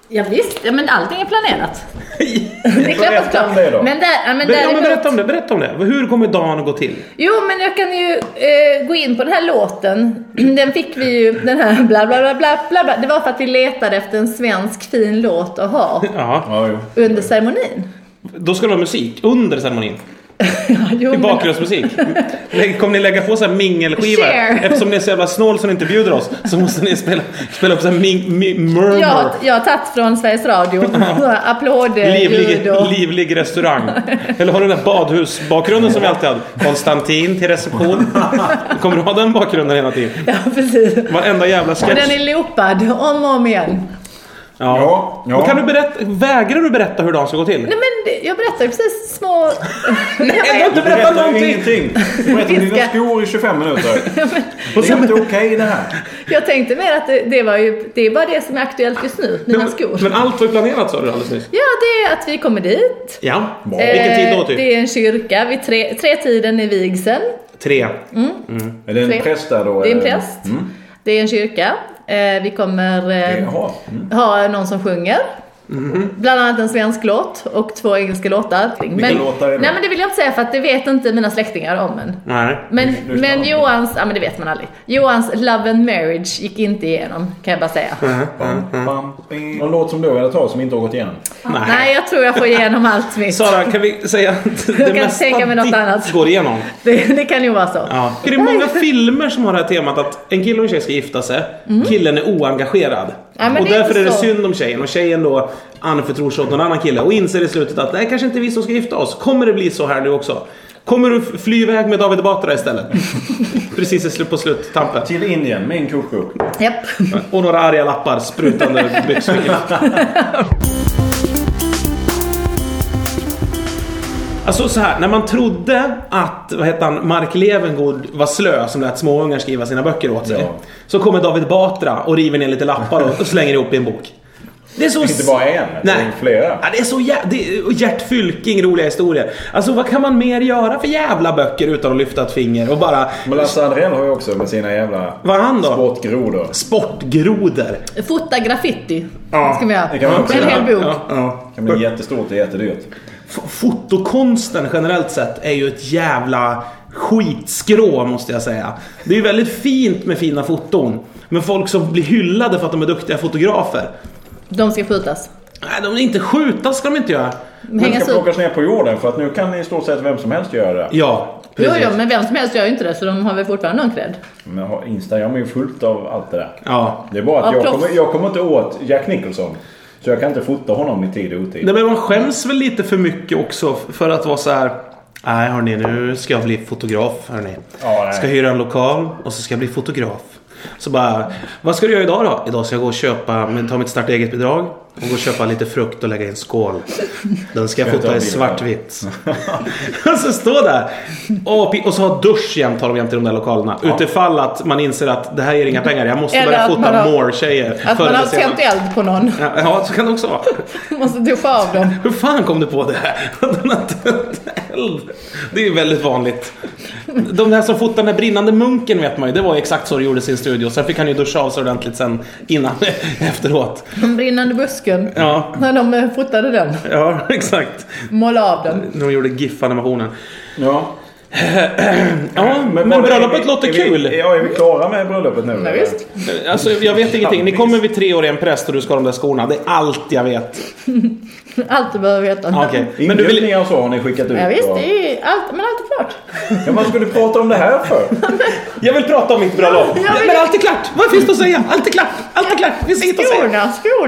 [SPEAKER 2] Ja, visst, ja, men allting är planerat. Det är
[SPEAKER 3] Berätta
[SPEAKER 2] klappat klart.
[SPEAKER 3] om det då.
[SPEAKER 2] Men, där, ja, men,
[SPEAKER 1] Ber- ja, men
[SPEAKER 2] däremot-
[SPEAKER 1] berätta om det, berätta om det. Hur kommer dagen att gå till?
[SPEAKER 2] Jo, men jag kan ju eh, gå in på den här låten. Den fick vi ju, den här bla bla bla bla bla. bla. Det var för att vi letade efter en svensk fin låt att ha
[SPEAKER 1] Ja,
[SPEAKER 3] Ja, jo.
[SPEAKER 2] under ceremonin.
[SPEAKER 1] då ska du ha musik under ceremonin.
[SPEAKER 2] Ja, jo,
[SPEAKER 1] I
[SPEAKER 2] men-
[SPEAKER 1] bakgrundsmusik. Lägg- Kommer ni lägga på så här mingelskivor?
[SPEAKER 2] Share.
[SPEAKER 1] Eftersom ni är så jävla snål som ni inte bjuder oss så måste ni spela, spela upp så här ming, mi, murmur.
[SPEAKER 2] Jag, har- jag har tagit från Sveriges Radio.
[SPEAKER 1] Livlig,
[SPEAKER 2] Eh, Applådljud och...
[SPEAKER 1] livlig restaurang. Eller har du den där badhusbakgrunden som vi alltid hade? Konstantin till reception. Kommer du ha den bakgrunden hela tiden?
[SPEAKER 2] Ja, precis.
[SPEAKER 1] Varenda jävla
[SPEAKER 2] Och den
[SPEAKER 1] sketch.
[SPEAKER 2] är loopad om och om igen.
[SPEAKER 3] Ja, ja.
[SPEAKER 1] Men Kan du berätta, vägrar du berätta hur dagen ska gå till?
[SPEAKER 2] Nej, men det- jag berättar ju precis små... Jag
[SPEAKER 1] du har inte
[SPEAKER 2] vet.
[SPEAKER 1] berättat
[SPEAKER 3] ju
[SPEAKER 1] någonting.
[SPEAKER 3] ingenting. Du berättar om dina
[SPEAKER 2] Fiska.
[SPEAKER 3] skor i 25 minuter. Det är inte okej det här.
[SPEAKER 2] Jag tänkte mer att det, det var ju, det är bara det som är aktuellt just nu, mina skor.
[SPEAKER 1] Men allt var ju planerat sa du alldeles nyss.
[SPEAKER 2] Ja, det är att vi kommer dit.
[SPEAKER 1] Ja. Vilken tid då
[SPEAKER 2] Eh,
[SPEAKER 1] typ?
[SPEAKER 2] Det är en kyrka, vid tre, tre tiden är vigseln.
[SPEAKER 1] Tre.
[SPEAKER 2] Mm.
[SPEAKER 3] Är det en
[SPEAKER 2] Tre.
[SPEAKER 3] präst där då?
[SPEAKER 2] Det är en
[SPEAKER 3] eller?
[SPEAKER 2] präst. Det är en kyrka. Eh, vi kommer eh,
[SPEAKER 3] Jaha.
[SPEAKER 2] ha någon som sjunger. Bland annat en svensk låt och två engelska låtar. Vilka
[SPEAKER 3] låtar är det?
[SPEAKER 2] Nej men det vill jag inte säga för att det vet inte mina släktingar om än.
[SPEAKER 1] Nej.
[SPEAKER 2] Men,
[SPEAKER 3] du ska
[SPEAKER 2] men
[SPEAKER 3] ha-
[SPEAKER 2] Johans, ja men det vet man aldrig. Johans Love and Marriage gick inte igenom kan jag bara säga.
[SPEAKER 3] Bam, bam, bing. Någon låt som du har velat ha som inte har gått igenom?
[SPEAKER 2] Nej jag tror jag får igenom allt mitt.
[SPEAKER 1] Sara, kan vi säga att det
[SPEAKER 2] kan inte
[SPEAKER 1] mesta
[SPEAKER 2] tänka mig något
[SPEAKER 1] ditt
[SPEAKER 2] annat.
[SPEAKER 1] går igenom?
[SPEAKER 2] Det, det kan ju vara så.
[SPEAKER 1] Ja. Det är många filmer som har det här temat att en kille och en tjej ska gifta sig, killen är oengagerad.
[SPEAKER 2] Mm. Ja, men
[SPEAKER 1] och
[SPEAKER 2] det är
[SPEAKER 1] därför
[SPEAKER 2] inte
[SPEAKER 1] är det
[SPEAKER 2] så.
[SPEAKER 1] synd om tjejen och tjejen då anförtror sig åt någon annan kille och inser i slutet att det här kanske inte är vi som ska gifta oss. Kommer det bli så här nu också? Kommer du f- fly iväg med David Batra istället? Precis i slut på slut, tampen.
[SPEAKER 3] Till Indien med en koko.
[SPEAKER 2] Japp.
[SPEAKER 1] Och några arga lappar sprutande ur byxfickorna. Alltså så här, när man trodde att vad heter han, Mark Levengood var slö som lät småungar skriva sina böcker åt sig.
[SPEAKER 3] Ja.
[SPEAKER 1] Så kommer David Batra och river ner lite lappar och, och slänger ihop i en bok. Det är så...
[SPEAKER 3] Inte bara en, det är flera.
[SPEAKER 1] Ja, det är så jä... det är, och Gert Fylking, roliga historier. Alltså vad kan man mer göra för jävla böcker utan att lyfta ett finger och bara...
[SPEAKER 3] Men Lasse Andrell har ju också med sina jävla
[SPEAKER 1] Vad är han då?
[SPEAKER 3] sportgrodor.
[SPEAKER 1] Sportgrodor.
[SPEAKER 2] Fota graffiti.
[SPEAKER 1] Ja,
[SPEAKER 2] ska vi göra.
[SPEAKER 3] det kan man också
[SPEAKER 2] en hel
[SPEAKER 3] göra.
[SPEAKER 2] bok.
[SPEAKER 1] Ja, ja.
[SPEAKER 3] Det kan bli jättestort och jättedyrt.
[SPEAKER 1] F- Fotokonsten generellt sett är ju ett jävla skitskrå måste jag säga. Det är ju väldigt fint med fina foton. Men folk som blir hyllade för att de är duktiga fotografer.
[SPEAKER 2] De ska skjutas.
[SPEAKER 1] Nej, de är inte skjuta ska de inte göra.
[SPEAKER 3] Den ska
[SPEAKER 2] Hängas ut.
[SPEAKER 3] plockas ner på jorden för att nu kan i stort sett vem som helst göra det.
[SPEAKER 1] Ja,
[SPEAKER 2] Jo,
[SPEAKER 1] precis.
[SPEAKER 2] jo, men vem som helst gör ju inte det så de har väl fortfarande någon cred.
[SPEAKER 3] Men har- Instagram är ju fullt av allt det där.
[SPEAKER 1] Ja.
[SPEAKER 3] Det är bara att
[SPEAKER 2] Ja,
[SPEAKER 3] jag,
[SPEAKER 2] proffs.
[SPEAKER 3] kommer, jag kommer inte åt Jack Nicholson. Så jag kan inte fota honom i tid och otid.
[SPEAKER 1] Nej, men man skäms väl lite för mycket också för att vara så här. Nej hörni, nu ska jag bli fotograf hörni.
[SPEAKER 3] Ja, nej.
[SPEAKER 1] ska hyra en lokal och så ska jag bli fotograf. Så bara, vad ska du göra idag då? Idag ska jag gå och köpa, men ta mitt starta eget bidrag och gå och köpa lite frukt och lägga i en skål. Den ska jag
[SPEAKER 3] Ska jag
[SPEAKER 1] fota
[SPEAKER 3] ta
[SPEAKER 1] i
[SPEAKER 3] en bild?
[SPEAKER 1] svartvitt. och så stå där. Och, pi- och så ha dusch jämt har de jämt i de där lokalerna. Utifall att man inser att det här ger inga pengar. Jag måste
[SPEAKER 2] Eller
[SPEAKER 1] börja
[SPEAKER 2] att man
[SPEAKER 1] fota
[SPEAKER 2] har-
[SPEAKER 1] more-tjejer.
[SPEAKER 2] Att
[SPEAKER 1] förr
[SPEAKER 2] man
[SPEAKER 1] eller
[SPEAKER 2] har
[SPEAKER 1] senare.
[SPEAKER 2] tänt eld på någon.
[SPEAKER 1] Ja, ja, så kan det också vara.
[SPEAKER 2] Måste duscha av dem.
[SPEAKER 1] Hur fan kom du på det här? Den har tänt eld. Det är väldigt vanligt. De där som fotade den där brinnande munken vet man ju. Det var ju exakt så det gjorde i sin studio. Sen fick han ju duscha av sig ordentligt sen innan efteråt.
[SPEAKER 2] Den brinnande busken.
[SPEAKER 1] Ja,
[SPEAKER 2] När de eh, fotade den.
[SPEAKER 1] ja exakt.
[SPEAKER 2] Måla av den.
[SPEAKER 1] De gjorde GIF-animationen.
[SPEAKER 3] Ja.
[SPEAKER 1] Ja, men,
[SPEAKER 3] var det-
[SPEAKER 1] bröllopet låter
[SPEAKER 3] är vi-
[SPEAKER 1] kul.
[SPEAKER 3] Ja, är vi klara med bröllopet nu?
[SPEAKER 2] Ja,
[SPEAKER 3] eller?
[SPEAKER 2] visst.
[SPEAKER 1] Alltså, jag vet ingenting. Ni kommer vid tre år i en präst och du ska ha de där skorna. Det är allt jag vet.
[SPEAKER 2] Allt du behöver veta.
[SPEAKER 1] Ja, Okej. Men du vill...
[SPEAKER 3] Inbjudningar och så har ni skickat ut.
[SPEAKER 2] Ja, visst,
[SPEAKER 3] och-
[SPEAKER 2] det är ju allt, men allt är klart.
[SPEAKER 3] Ja, vad skulle du prata om det här för?
[SPEAKER 1] Jag vill prata om mitt bröllop.
[SPEAKER 2] Ja, jag vill-
[SPEAKER 1] Men allt är klart. Vad finns det att säga? Allt är klart. Allt är klart. Det finns inget att säga.
[SPEAKER 2] Skorna,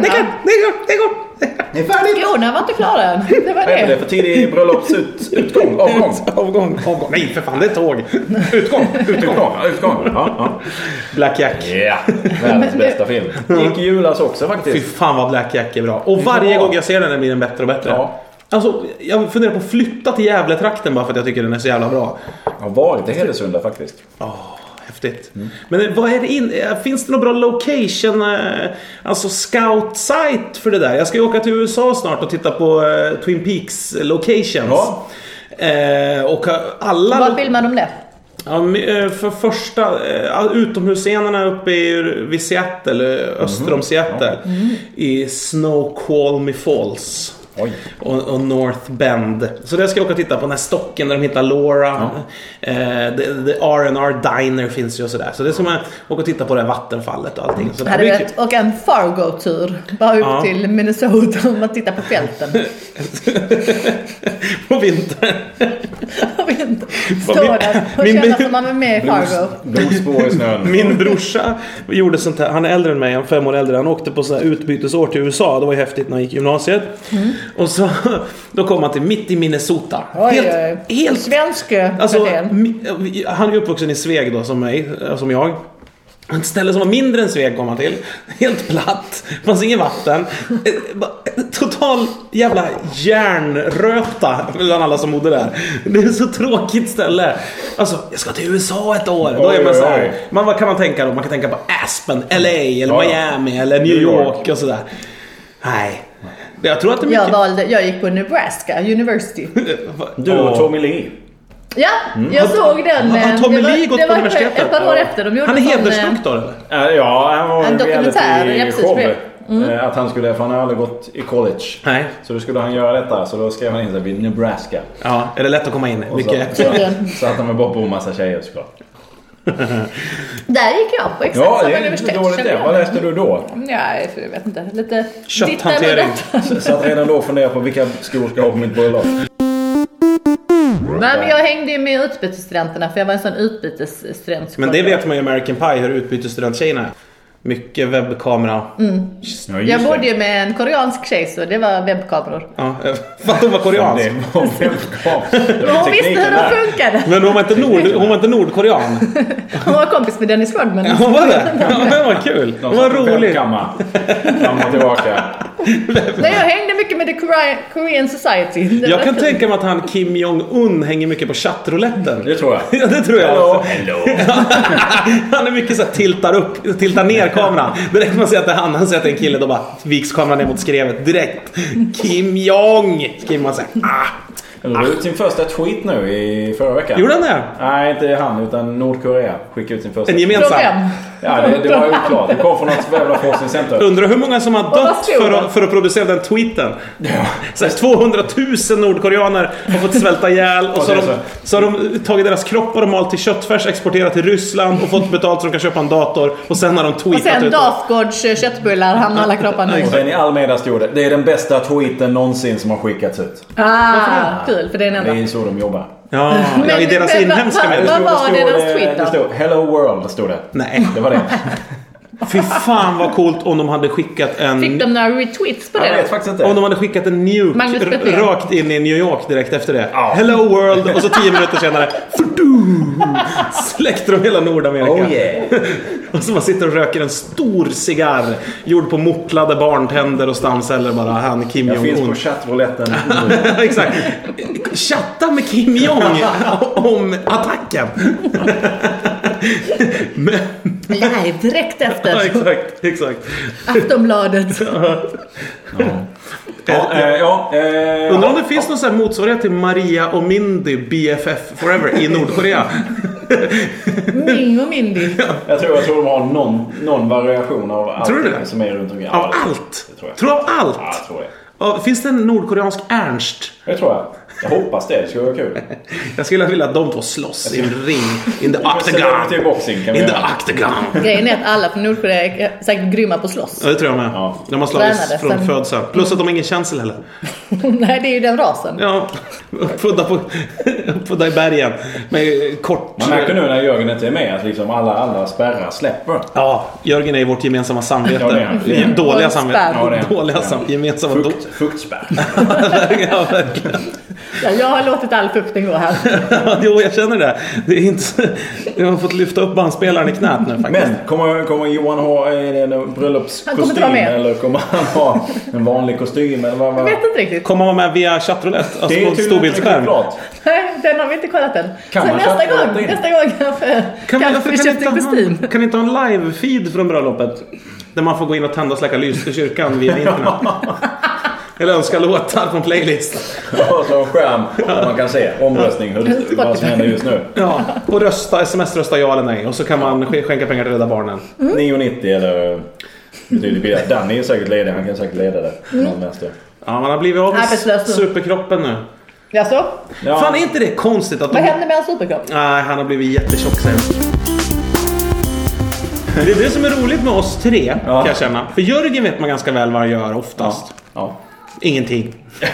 [SPEAKER 1] Det är klart.
[SPEAKER 2] skorna.
[SPEAKER 1] Det är klart. Det är klart.
[SPEAKER 3] Ni är färdiga!
[SPEAKER 2] Skorna var inte klara än. Det var
[SPEAKER 3] Vad heter det
[SPEAKER 2] det.
[SPEAKER 3] för tidig bröllopsutgång? Avgång?
[SPEAKER 1] Avgång. Avgång. Nej, för fan. Det är tåg. Utgång.
[SPEAKER 3] Utgång? ja, Utgång? Ja,
[SPEAKER 1] Black Jack.
[SPEAKER 3] ja. Yeah. Världens bästa film. Gick i julas också
[SPEAKER 1] Fy
[SPEAKER 3] faktiskt.
[SPEAKER 1] fan vad Black Jack är bra. Och varje
[SPEAKER 3] bra.
[SPEAKER 1] gång jag ser den, den blir den bättre och bättre.
[SPEAKER 3] Ja.
[SPEAKER 1] Alltså, jag funderar på att flytta till Gävletrakten bara för att jag tycker den är så jävla bra.
[SPEAKER 3] Har varit i Hedesunda faktiskt.
[SPEAKER 1] Åh, häftigt. Men vad är det in... eh, Finns det någon bra location, eh, alltså scout-site för det där? Jag ska ju åka till USA snart och titta på eh, Twin Peaks locations.
[SPEAKER 3] Ja.
[SPEAKER 1] Eh, och eh, alla...
[SPEAKER 2] Var filmar de det?
[SPEAKER 1] Ja, men, eh, för första, eh, utomhusscenerna uppe i, vid Seattle, eh, öster om Seattle. I Snoqualmie Falls.
[SPEAKER 3] Oj.
[SPEAKER 1] Och, och North Bend. Så det ska jag åka och titta på. Den här stocken där de hittar Laura. Eh, the, the R&R Diner finns ju och sådär. Så det ska man åka och titta på det här vattenfallet och allting. Så det här
[SPEAKER 2] Hade
[SPEAKER 1] blir
[SPEAKER 2] velat åka en Fargo-tur. Bara upp
[SPEAKER 1] Ja.
[SPEAKER 2] till Minnesota och bara titta på fälten.
[SPEAKER 1] kul. på vintern.
[SPEAKER 2] Jag vet inte. Stå där och
[SPEAKER 1] Min-
[SPEAKER 2] känna som man är med i Fargo.
[SPEAKER 3] Blodspår i snön.
[SPEAKER 1] Min brorsa gjorde sånt här. Han är äldre än mig, han är fem år äldre. Han åkte på så här utbytesår till USA. Det var ju häftigt när han gick i gymnasiet.
[SPEAKER 2] Mm.
[SPEAKER 1] Och så, då kom han till mitt i Minnesota.
[SPEAKER 2] Oj,
[SPEAKER 1] helt,
[SPEAKER 2] oj, oj.
[SPEAKER 1] helt
[SPEAKER 2] Svensk eh,
[SPEAKER 1] Alltså,
[SPEAKER 2] kvarter.
[SPEAKER 1] mi- han är ju uppvuxen i Sveg då, som, mig, eh, som jag. Ett ställe som var mindre än Sveg kom han till. Helt platt. fanns inget vatten. Eh, ba- eh, Total jävla järnröta bland alla som bodde där. Det är ett så tråkigt ställe. Alltså, jag ska till USA ett år. Då är
[SPEAKER 3] Oj,
[SPEAKER 1] man
[SPEAKER 3] oj,
[SPEAKER 1] så här,
[SPEAKER 3] oj.
[SPEAKER 1] man, vad kan man tänka då? Man kan tänka på Aspen, LA, eller
[SPEAKER 3] Ja, ja.
[SPEAKER 1] Miami, eller New
[SPEAKER 3] New York.
[SPEAKER 1] York och sådär. Nej. Jag tror att det är
[SPEAKER 2] Jag
[SPEAKER 1] mycket... Eh,
[SPEAKER 2] valde, jag gick på Nebraska University.
[SPEAKER 3] Du och
[SPEAKER 1] Åh.
[SPEAKER 3] Tommy Lee.
[SPEAKER 2] Ja,
[SPEAKER 1] Mm.
[SPEAKER 2] jag såg den.
[SPEAKER 1] Har- Har
[SPEAKER 2] eh,
[SPEAKER 1] Tommy
[SPEAKER 2] det var-
[SPEAKER 1] Lee gått
[SPEAKER 2] det
[SPEAKER 1] på
[SPEAKER 2] var
[SPEAKER 1] universitetet?
[SPEAKER 2] Ett par år
[SPEAKER 1] Ja.
[SPEAKER 2] efter. De gjorde
[SPEAKER 1] Han är
[SPEAKER 2] en sån, eh,
[SPEAKER 1] hedersdoktor eller?
[SPEAKER 3] Eh, Ja, han var
[SPEAKER 2] En
[SPEAKER 3] en
[SPEAKER 2] dokumentär, ja, precis,
[SPEAKER 3] reality-show.
[SPEAKER 2] för
[SPEAKER 3] Eh, Att han skulle, för han har aldrig gått i college.
[SPEAKER 1] Nej.
[SPEAKER 3] Så då skulle han göra detta, så då skrev han in sig vid Nebraska.
[SPEAKER 1] Ja, är det lätt att komma in?
[SPEAKER 3] Och
[SPEAKER 1] Mycket.
[SPEAKER 3] Så,
[SPEAKER 2] Tydligen.
[SPEAKER 3] så att de är bara på en massa tjejer såklart.
[SPEAKER 2] Där gick jag på exakt
[SPEAKER 3] Ja,
[SPEAKER 2] samma
[SPEAKER 3] det är inte
[SPEAKER 2] universitet.
[SPEAKER 3] dåligt
[SPEAKER 2] känner
[SPEAKER 3] det.
[SPEAKER 2] jag.
[SPEAKER 3] Vad läste du då?
[SPEAKER 2] Nej, för jag vet inte. Lite
[SPEAKER 1] Kötthantering.
[SPEAKER 2] dittan och dattan.
[SPEAKER 3] Så- Så att redan då funderade jag på vilka skor ska jag ha på mitt bröllop.
[SPEAKER 2] Nej, men jag hängde ju med utbytesstudenterna för jag var en sån utbytesstudent.
[SPEAKER 1] Men det vet man ju i American Pie hur utbytesstudenttjejerna är. Mycket webbkamera.
[SPEAKER 3] Ja, just
[SPEAKER 2] Jag
[SPEAKER 3] det.
[SPEAKER 2] bodde ju med en koreansk tjej så det var webbkameror.
[SPEAKER 1] Ja, för att hon var koreansk.
[SPEAKER 3] Det var webbkam. Det var
[SPEAKER 2] Men hon visste
[SPEAKER 3] tekniken
[SPEAKER 2] hur
[SPEAKER 3] där.
[SPEAKER 2] de funkade.
[SPEAKER 1] Men hon var inte, nord, hon var inte nordkorean.
[SPEAKER 2] Hon var kompis med Dennis Rodman.
[SPEAKER 1] Ja, Hon var det? Ja, men vad kul.
[SPEAKER 3] De
[SPEAKER 1] Hon var
[SPEAKER 3] satt på
[SPEAKER 1] rolig.
[SPEAKER 3] webbkamma. Fram och tillbaka.
[SPEAKER 2] Nej, jag hängde mycket med The Korea- Korean Society. Det var
[SPEAKER 1] Jag kan
[SPEAKER 2] kul.
[SPEAKER 1] tänka mig att han Kim Jong-Un hänger mycket på
[SPEAKER 3] Det
[SPEAKER 1] chattroulette.
[SPEAKER 3] tror jag.
[SPEAKER 1] Ja, det tror jag
[SPEAKER 3] Hello,
[SPEAKER 1] också.
[SPEAKER 3] hello.
[SPEAKER 1] Han är mycket så här, tiltar upp, tiltar ner kameran. Direkt man ser att det är han, han ser att det är en kille, då bara viks kameran ner mot skrevet direkt. Kim Jong! Skriver man såhär. Ah.
[SPEAKER 3] Han la ut sin första tweet nu i förra veckan.
[SPEAKER 1] Gjorde han det?
[SPEAKER 3] Nej, inte han utan Nordkorea skickade ut sin första.
[SPEAKER 1] En gemensam?
[SPEAKER 2] Från vem?
[SPEAKER 3] Ja, det, det var oklart. Det kom från något jävla forskningscenter.
[SPEAKER 1] Undrar hur många som har
[SPEAKER 2] vad
[SPEAKER 1] dött
[SPEAKER 2] stod
[SPEAKER 1] för
[SPEAKER 2] det?
[SPEAKER 1] att, för att producera den tweeten. Så här, 200 000 nordkoreaner har fått svälta ihjäl och så har,
[SPEAKER 3] det
[SPEAKER 1] de,
[SPEAKER 3] är
[SPEAKER 1] så har de tagit deras kroppar och malt till köttfärs, exporterat till Ryssland och fått betalt så de kan köpa en dator. Och sen har de
[SPEAKER 2] Och
[SPEAKER 1] tweetat
[SPEAKER 2] sen
[SPEAKER 1] ut
[SPEAKER 2] Dafgårds eh, köttbullar hamnar alla kropparna i.
[SPEAKER 1] liksom.
[SPEAKER 3] Och sen i all media stod det. Det är den bästa tweeten någonsin som har skickats ut.
[SPEAKER 2] Ah, kul för det är en
[SPEAKER 3] Det
[SPEAKER 2] enda.
[SPEAKER 3] är så de jobbar.
[SPEAKER 1] Ja, ja, i
[SPEAKER 2] Men-
[SPEAKER 1] deras
[SPEAKER 2] men-
[SPEAKER 1] inhemska
[SPEAKER 2] men-
[SPEAKER 1] medier.
[SPEAKER 2] Vad
[SPEAKER 3] stod-
[SPEAKER 2] var
[SPEAKER 3] stod,
[SPEAKER 2] deras
[SPEAKER 3] eh,
[SPEAKER 2] tweet då?
[SPEAKER 3] Det stod Hello World, stod det.
[SPEAKER 1] Nej.
[SPEAKER 3] Det var det.
[SPEAKER 1] Fy fan vad coolt om de hade skickat en...
[SPEAKER 2] Fick de några retweets på
[SPEAKER 3] Jag
[SPEAKER 2] det
[SPEAKER 3] vet
[SPEAKER 2] då?
[SPEAKER 3] faktiskt
[SPEAKER 1] Om de
[SPEAKER 3] inte.
[SPEAKER 1] hade skickat en nuke
[SPEAKER 2] Magnus
[SPEAKER 1] r-
[SPEAKER 2] Petrén.
[SPEAKER 1] rakt in i New York direkt efter det.
[SPEAKER 3] Ja.
[SPEAKER 1] Hello world! Och så tio minuter senare fudum, släckte de hela Nordamerika.
[SPEAKER 3] Oh yeah.
[SPEAKER 1] Och så man sitter och röker en stor cigarr gjord på mortlade barntänder och stamceller bara. Han Kim
[SPEAKER 3] Jag finns
[SPEAKER 1] Jong-Un.
[SPEAKER 3] på chattroulette
[SPEAKER 1] Exakt. Chatta med Kim Jong om attacken. Men,
[SPEAKER 2] Live direkt
[SPEAKER 1] ja,
[SPEAKER 2] efter
[SPEAKER 1] exakt, exakt.
[SPEAKER 2] Aftonbladet.
[SPEAKER 3] Ja, eh, ja, eh,
[SPEAKER 1] Undrar om det finns någon sån här motsvarighet till Maria och Mindy BFF Forever i Nordkorea?
[SPEAKER 2] Ming och Mindy.
[SPEAKER 3] Jag tror, jag tror de har någon, någon variation av allt
[SPEAKER 1] Tror du det?
[SPEAKER 3] som är runt omkring.
[SPEAKER 1] Av allt?
[SPEAKER 3] Det tror jag.
[SPEAKER 1] Tror du av allt?
[SPEAKER 3] Ja, jag tror det.
[SPEAKER 1] Ja, Finns det en nordkoreansk Ernst?
[SPEAKER 3] Det tror jag. Jag hoppas det. Det skulle vara kul.
[SPEAKER 1] Jag skulle vilja att de två slåss i en ring. In the
[SPEAKER 3] Ställer till
[SPEAKER 1] octagon.
[SPEAKER 3] boxing kan vi
[SPEAKER 1] In the
[SPEAKER 3] göra.
[SPEAKER 1] octagon.
[SPEAKER 2] Grejen är att alla från Nordkorea är säkert grymma på att slåss.
[SPEAKER 1] Ja, det tror jag med.
[SPEAKER 3] Ja.
[SPEAKER 1] De har slagits
[SPEAKER 2] Tränade
[SPEAKER 1] från
[SPEAKER 2] sen.
[SPEAKER 1] födseln. Plus att de har ingen känsel heller.
[SPEAKER 2] Nej, det är ju den rasen.
[SPEAKER 1] Ja, uppfödda, på, uppfödda i bergen. Med kort...
[SPEAKER 3] Man märker nu när Jörgen inte är med att liksom alla andra spärrar släpper.
[SPEAKER 1] Ja, Jörgen är vårt gemensamma
[SPEAKER 3] Ja, det är
[SPEAKER 1] samvete.
[SPEAKER 3] han. Det är han.
[SPEAKER 1] Dåliga
[SPEAKER 2] Och spärr.
[SPEAKER 1] samvete.
[SPEAKER 2] Ja,
[SPEAKER 3] det är han.
[SPEAKER 1] Dåliga
[SPEAKER 3] Det är han.
[SPEAKER 1] sam- gemensamma... do-
[SPEAKER 3] Fukt, fuktspärr.
[SPEAKER 1] Ja, verkligen.
[SPEAKER 2] Ja, jag har låtit all fukten gå här.
[SPEAKER 1] Jo, jag känner det. Det är inte... så- Jag har fått lyfta upp bandspelaren i knät nu faktiskt.
[SPEAKER 3] Men kommer, kommer Johan ha en, en
[SPEAKER 2] Han kommer
[SPEAKER 3] bröllopskostym?
[SPEAKER 2] inte vara med.
[SPEAKER 3] Eller kommer han ha en vanlig kostym? Eller vad,
[SPEAKER 2] Jag
[SPEAKER 3] vad?
[SPEAKER 2] vet inte riktigt.
[SPEAKER 1] Kommer vara med via chattroulette, alltså på
[SPEAKER 3] tydligen inte riktigt
[SPEAKER 1] storbildsskärm.
[SPEAKER 3] klart.
[SPEAKER 2] Nej, Den har vi inte kollat än.
[SPEAKER 3] Kan
[SPEAKER 2] Så
[SPEAKER 3] man
[SPEAKER 2] nästa
[SPEAKER 3] köpa
[SPEAKER 2] gång,
[SPEAKER 3] någonting?
[SPEAKER 2] nästa gång kanske,
[SPEAKER 1] Kan, vi-
[SPEAKER 2] kanske vi
[SPEAKER 1] kan
[SPEAKER 2] köper en
[SPEAKER 1] inte ha-
[SPEAKER 2] kostym.
[SPEAKER 1] kan inte ha en live-feed från bröllopet? Där man får gå in och tända och släcka lys i kyrkan via internet. Eller önska låtar på en playlist.
[SPEAKER 3] Ja, så en skärm där man kan se omröstning, hur, vad som händer just nu.
[SPEAKER 1] Ja, och rösta, sms-rösta ja eller nej. Och så kan man sk- skänka pengar till Rädda Barnen.
[SPEAKER 3] 9,90 eller betydligt billigare. Danny är säkert ledig. Han kan säkert leda det.
[SPEAKER 2] Mm.
[SPEAKER 3] Någon nästa.
[SPEAKER 1] Ja, man har blivit av med
[SPEAKER 2] Arbetslös nu.
[SPEAKER 1] superkroppen nu.
[SPEAKER 2] Jaså?
[SPEAKER 3] Ja.
[SPEAKER 1] Fan, är inte det konstigt att
[SPEAKER 2] Vad
[SPEAKER 1] de...
[SPEAKER 2] hände med hans superkropp?
[SPEAKER 1] Nej, han har blivit jättetjock säger jag. Det är det som är roligt med oss tre,
[SPEAKER 3] Ja.
[SPEAKER 1] kan jag känna. För Jörgen vet man ganska väl vad han gör oftast.
[SPEAKER 3] Ja.
[SPEAKER 1] Ingenting.
[SPEAKER 3] Ja,